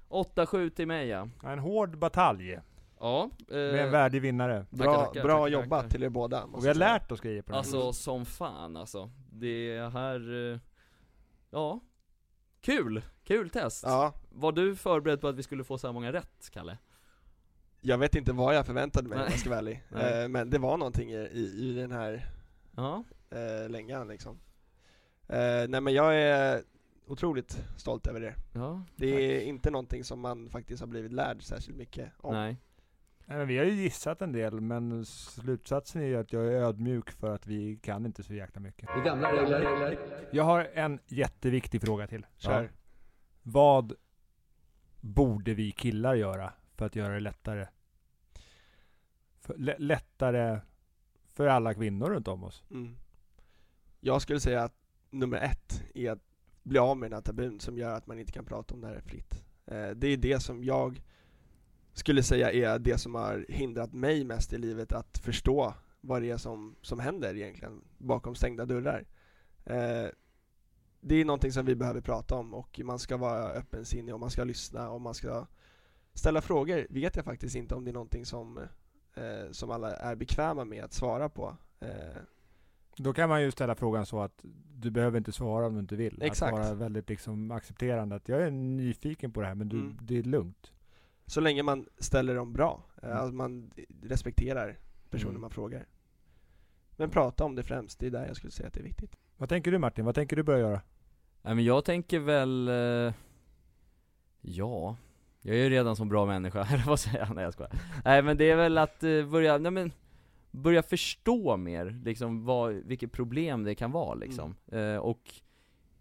8-7 till mig ja
En hård batalj
Ja, eh,
med en värdig vinnare.
Tackar,
Bra,
tackar,
bra
tackar,
jobbat
tackar.
till er båda.
Och
måste
vi har
jag säga.
lärt oss grejer på den här.
alltså som fan alltså Det här, eh, ja Kul, kul test!
Ja,
Var du förberedd på att vi skulle få så här många rätt, Kalle?
jag vet inte vad jag förväntade mig om
Nej.
jag ska vara ärlig.
Nej.
Eh, Men det var någonting i, i, i den här
Ja,
eh, längan liksom. Eh, nej men jag är otroligt stolt över det.
ja
Det är
tack.
inte någonting som man faktiskt har blivit lärd särskilt mycket om.
Nej
Nej, men vi har ju gissat en del, men slutsatsen är ju att jag är ödmjuk för att vi kan inte så jäkla mycket.
Det gamla regler.
Jag har en jätteviktig fråga till. Kör.
Ja.
Vad borde vi killar göra för att göra det lättare? För, lä- lättare för alla kvinnor runt om oss?
Mm. Jag skulle säga att nummer ett är att bli av med den här tabun som gör att man inte kan prata om det här fritt. Eh, det är det som jag skulle säga är det som har hindrat mig mest i livet att förstå vad det är som, som händer egentligen bakom stängda dörrar. Eh, det är någonting som vi behöver prata om och man ska vara öppensinnig och man ska lyssna och man ska ställa frågor. Vet jag faktiskt inte om det är någonting som, eh, som alla är bekväma med att svara på. Eh,
Då kan man ju ställa frågan så att du behöver inte svara om du inte vill.
Exakt.
Att vara väldigt liksom accepterande att jag är nyfiken på det här men du,
Mm.
det är lugnt.
Så länge man ställer dem bra, mm.
Mm.
att man respekterar personen
Mm.
man frågar. Men prata om det främst, det är där jag skulle säga att det är viktigt.
Vad tänker du Martin? Vad tänker du börja göra?
Nej men jag tänker väl, eh, ja, jag är ju redan som bra människa, eller vad säger jag? Nej jag skojar. Nej men det är väl att eh, börja, nej men, börja förstå mer, liksom vad, vilket problem det kan vara liksom. Eh, och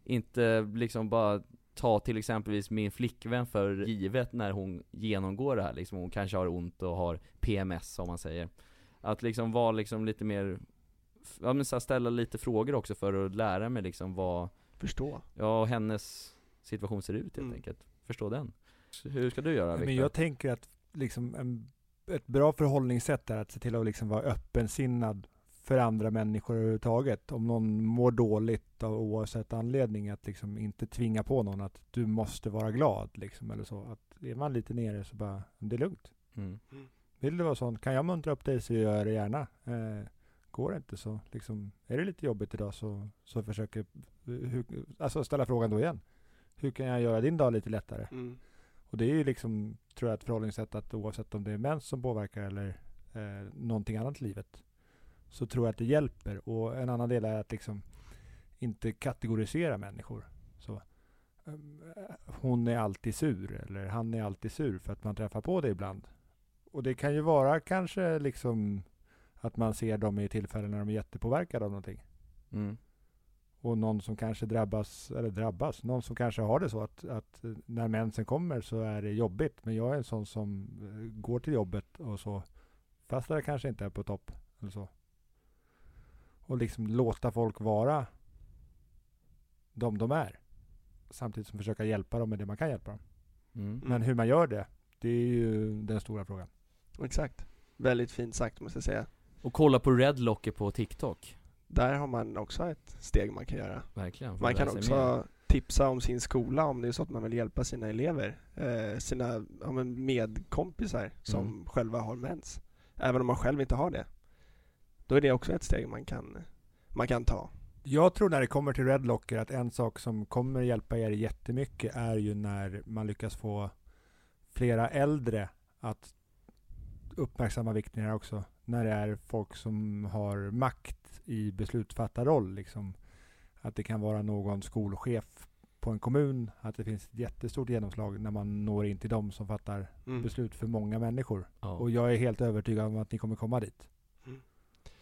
inte liksom bara ta till exempelvis min flickvän för givet när hon genomgår det här liksom. Hon kanske har ont och har PMS som man säger. Att liksom vara liksom lite mer, ja men så här, ställa lite frågor också för att lära mig liksom vad
Förstå.
Ja, och hennes situation ser ut helt
Mm.
enkelt. Förstå den. Hur ska du göra
Nej,
Viktor?
Men jag tänker att liksom en, ett bra förhållningssätt är att se till att liksom vara öppensinnad för andra människor överhuvudtaget. Om någon mår dåligt av oavsett anledning, att liksom inte tvinga på någon att du måste vara glad. Liksom, eller så. Att är man lite nere så bara, det är lugnt.
mm.
Vill du vara sån, kan jag muntra upp dig så gör jag det gärna. Eh, går det inte så, liksom, är det lite jobbigt idag så, så försöker, eh, hur, alltså ställa frågan då igen. Hur kan jag göra din dag lite lättare?
Mm.
Och det är ju liksom, tror jag, ett förhållningssätt att oavsett om det är mens som påverkar eller eh, någonting annat i livet, så tror jag att det hjälper. Och en annan del är att liksom inte kategorisera människor. Så, ehm, eh, hon är alltid sur, eller han är alltid sur, för att man träffar på det ibland. Och det kan ju vara kanske liksom att man ser dem i tillfällen när de är jättepåverkade av någonting
Mm.
och någon som kanske drabbas, eller drabbas, någon som kanske har det så att, att eh, när mensen kommer så är det jobbigt. Men jag är en sån som eh, går till jobbet och så, fast det kanske inte är på topp eller så. Och liksom låta folk vara de de är. Samtidigt som försöka hjälpa dem med det man kan hjälpa dem.
Mm.
Men hur man gör det, det är ju den stora frågan.
Exakt. Väldigt fint sagt måste jag säga.
Och kolla på Redlocker på TikTok.
Där har man också ett steg man kan göra.
Verkligen. Får
Man kan
lära sig mer.
också tipsa om sin skola om det är så att man vill hjälpa sina elever, eh, sina ja, men medkompisar som
Mm.
själva har mens. Även om man själv inte har det. Då är det också ett steg man kan, man kan ta.
Jag tror när det kommer till Red Locker att en sak som kommer hjälpa er jättemycket är ju när man lyckas få flera äldre att uppmärksamma vikten här också. När det är folk som har makt i beslutsfattarroll. Liksom. Att det kan vara någon skolchef på en kommun. Att det finns ett jättestort genomslag när man når in till dem som fattar
Mm.
beslut för många människor.
Ja.
Och jag är helt övertygad om att ni kommer komma dit.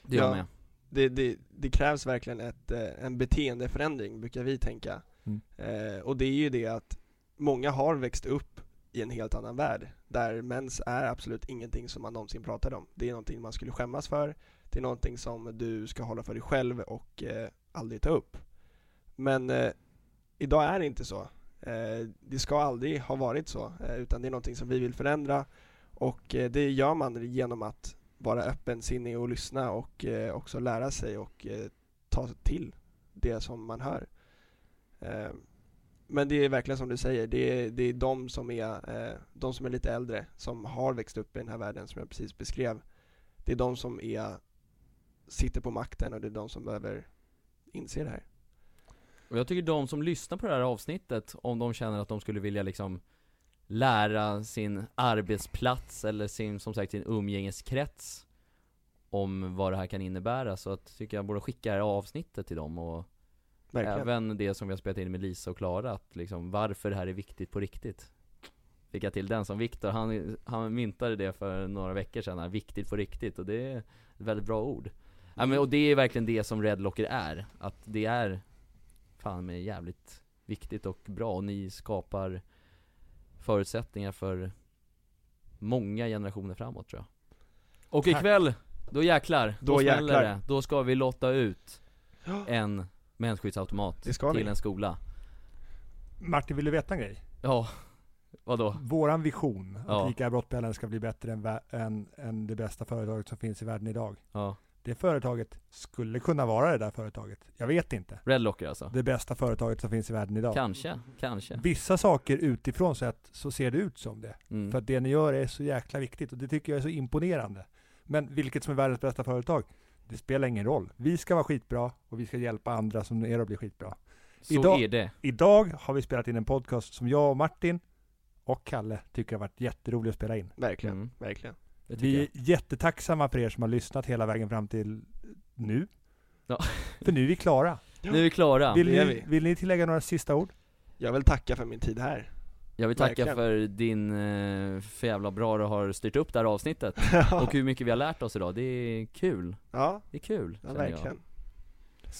det gör
Ja.
med.
det, det, det krävs verkligen ett, eh, en beteendeförändring, brukar vi tänka.
Mm.
Eh, och det är ju det att många har växt upp i en helt annan värld, där mens är absolut ingenting som man någonsin pratade om. Det är någonting man skulle skämmas för, det är någonting som du ska hålla för dig själv och eh, aldrig ta upp. Men eh, idag är det inte så. Eh, det ska aldrig ha varit så, eh, utan det är någonting som vi vill förändra och eh, det gör man genom att vara öppensinnig och lyssna och eh, också lära sig och eh, ta till det som man hör. Eh, men det är verkligen som du säger, det är, det är de, som är, eh, de som är lite äldre, som har växt upp i den här världen som jag precis beskrev. Det är de som är, sitter på makten och det är de som behöver inse det här.
Och jag tycker de som lyssnar på det här avsnittet, om de känner att de skulle vilja liksom lära sin arbetsplats eller sin, som sagt, sin umgängeskrets om vad det här kan innebära. Så att, tycker jag borde skicka det här avsnittet till dem och
Verkligen.
Även det som vi har spelat in med Lisa och Klara, att liksom varför det här är viktigt på riktigt. Lycka till den som Viktor, han, han myntade det för några veckor sedan, här, viktigt på riktigt och det är ett väldigt bra ord. Ja, men, och det är verkligen det som Red Locker är, att det är fan mig jävligt viktigt och bra och ni skapar förutsättningar för många generationer framåt tror jag. Och
Tack.
ikväll, då jäklar, då,
Då
smäller
jäklar.
det. Då ska vi lotta ut en mensskyddsautomat
Det ska
till
ni.
en skola.
Martin, vill du veta en grej?
Ja, vadå?
Våran vision att
Ja.
ICA Brottbällen ska bli bättre än, vä- än, än det bästa företaget som finns i världen idag.
Ja,
Det företaget skulle kunna vara det där företaget. Jag vet inte.
Red Locker alltså.
Det bästa företaget som finns i världen idag.
Kanske, kanske.
Vissa saker utifrån sett så ser det ut som det.
Mm.
För att det ni gör är så jäkla viktigt och det tycker jag är så imponerande. Men vilket som är världens bästa företag, det spelar ingen roll. Vi ska vara skitbra och vi ska hjälpa andra som är att bli skitbra.
Så
idag-
är det.
Idag har vi spelat in en podcast som jag och Martin och Kalle tycker har varit jätterolig att spela in.
Verkligen,
Mm.
verkligen.
det tycker
Vi är
jag.
jättetacksamma för er som har lyssnat hela vägen fram till nu.
Ja.
För nu är vi klara.
Nu är vi klara.
Vill
det är
ni,
vi.
vill ni tillägga några sista ord?
Jag vill tacka för min tid här.
Jag vill tacka
verkligen.
för din, eh, för jävla bra du har styrt upp det här avsnittet. Och hur mycket vi har lärt oss idag, det är kul.
ja,
Det är kul,
ja,
känner jag.
verkligen.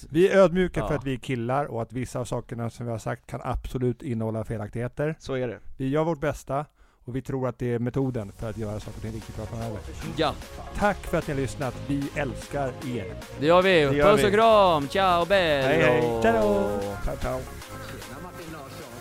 Vi är ödmjuka
Ja.
för att vi är killar och att vissa av sakerna som vi har sagt kan absolut innehålla felaktigheter.
Så är det.
Vi gör vårt bästa och vi tror att det är metoden för att göra saker och ting riktigt bra framöver.
Ja,
Tack för att ni har lyssnat. Vi älskar er.
det gör vi.
Det gör
Puss och
vi.
kram, ciao bello!
Hej, hej.
Ciao.
Ciao, ciao.
Tjena Martin Larsson.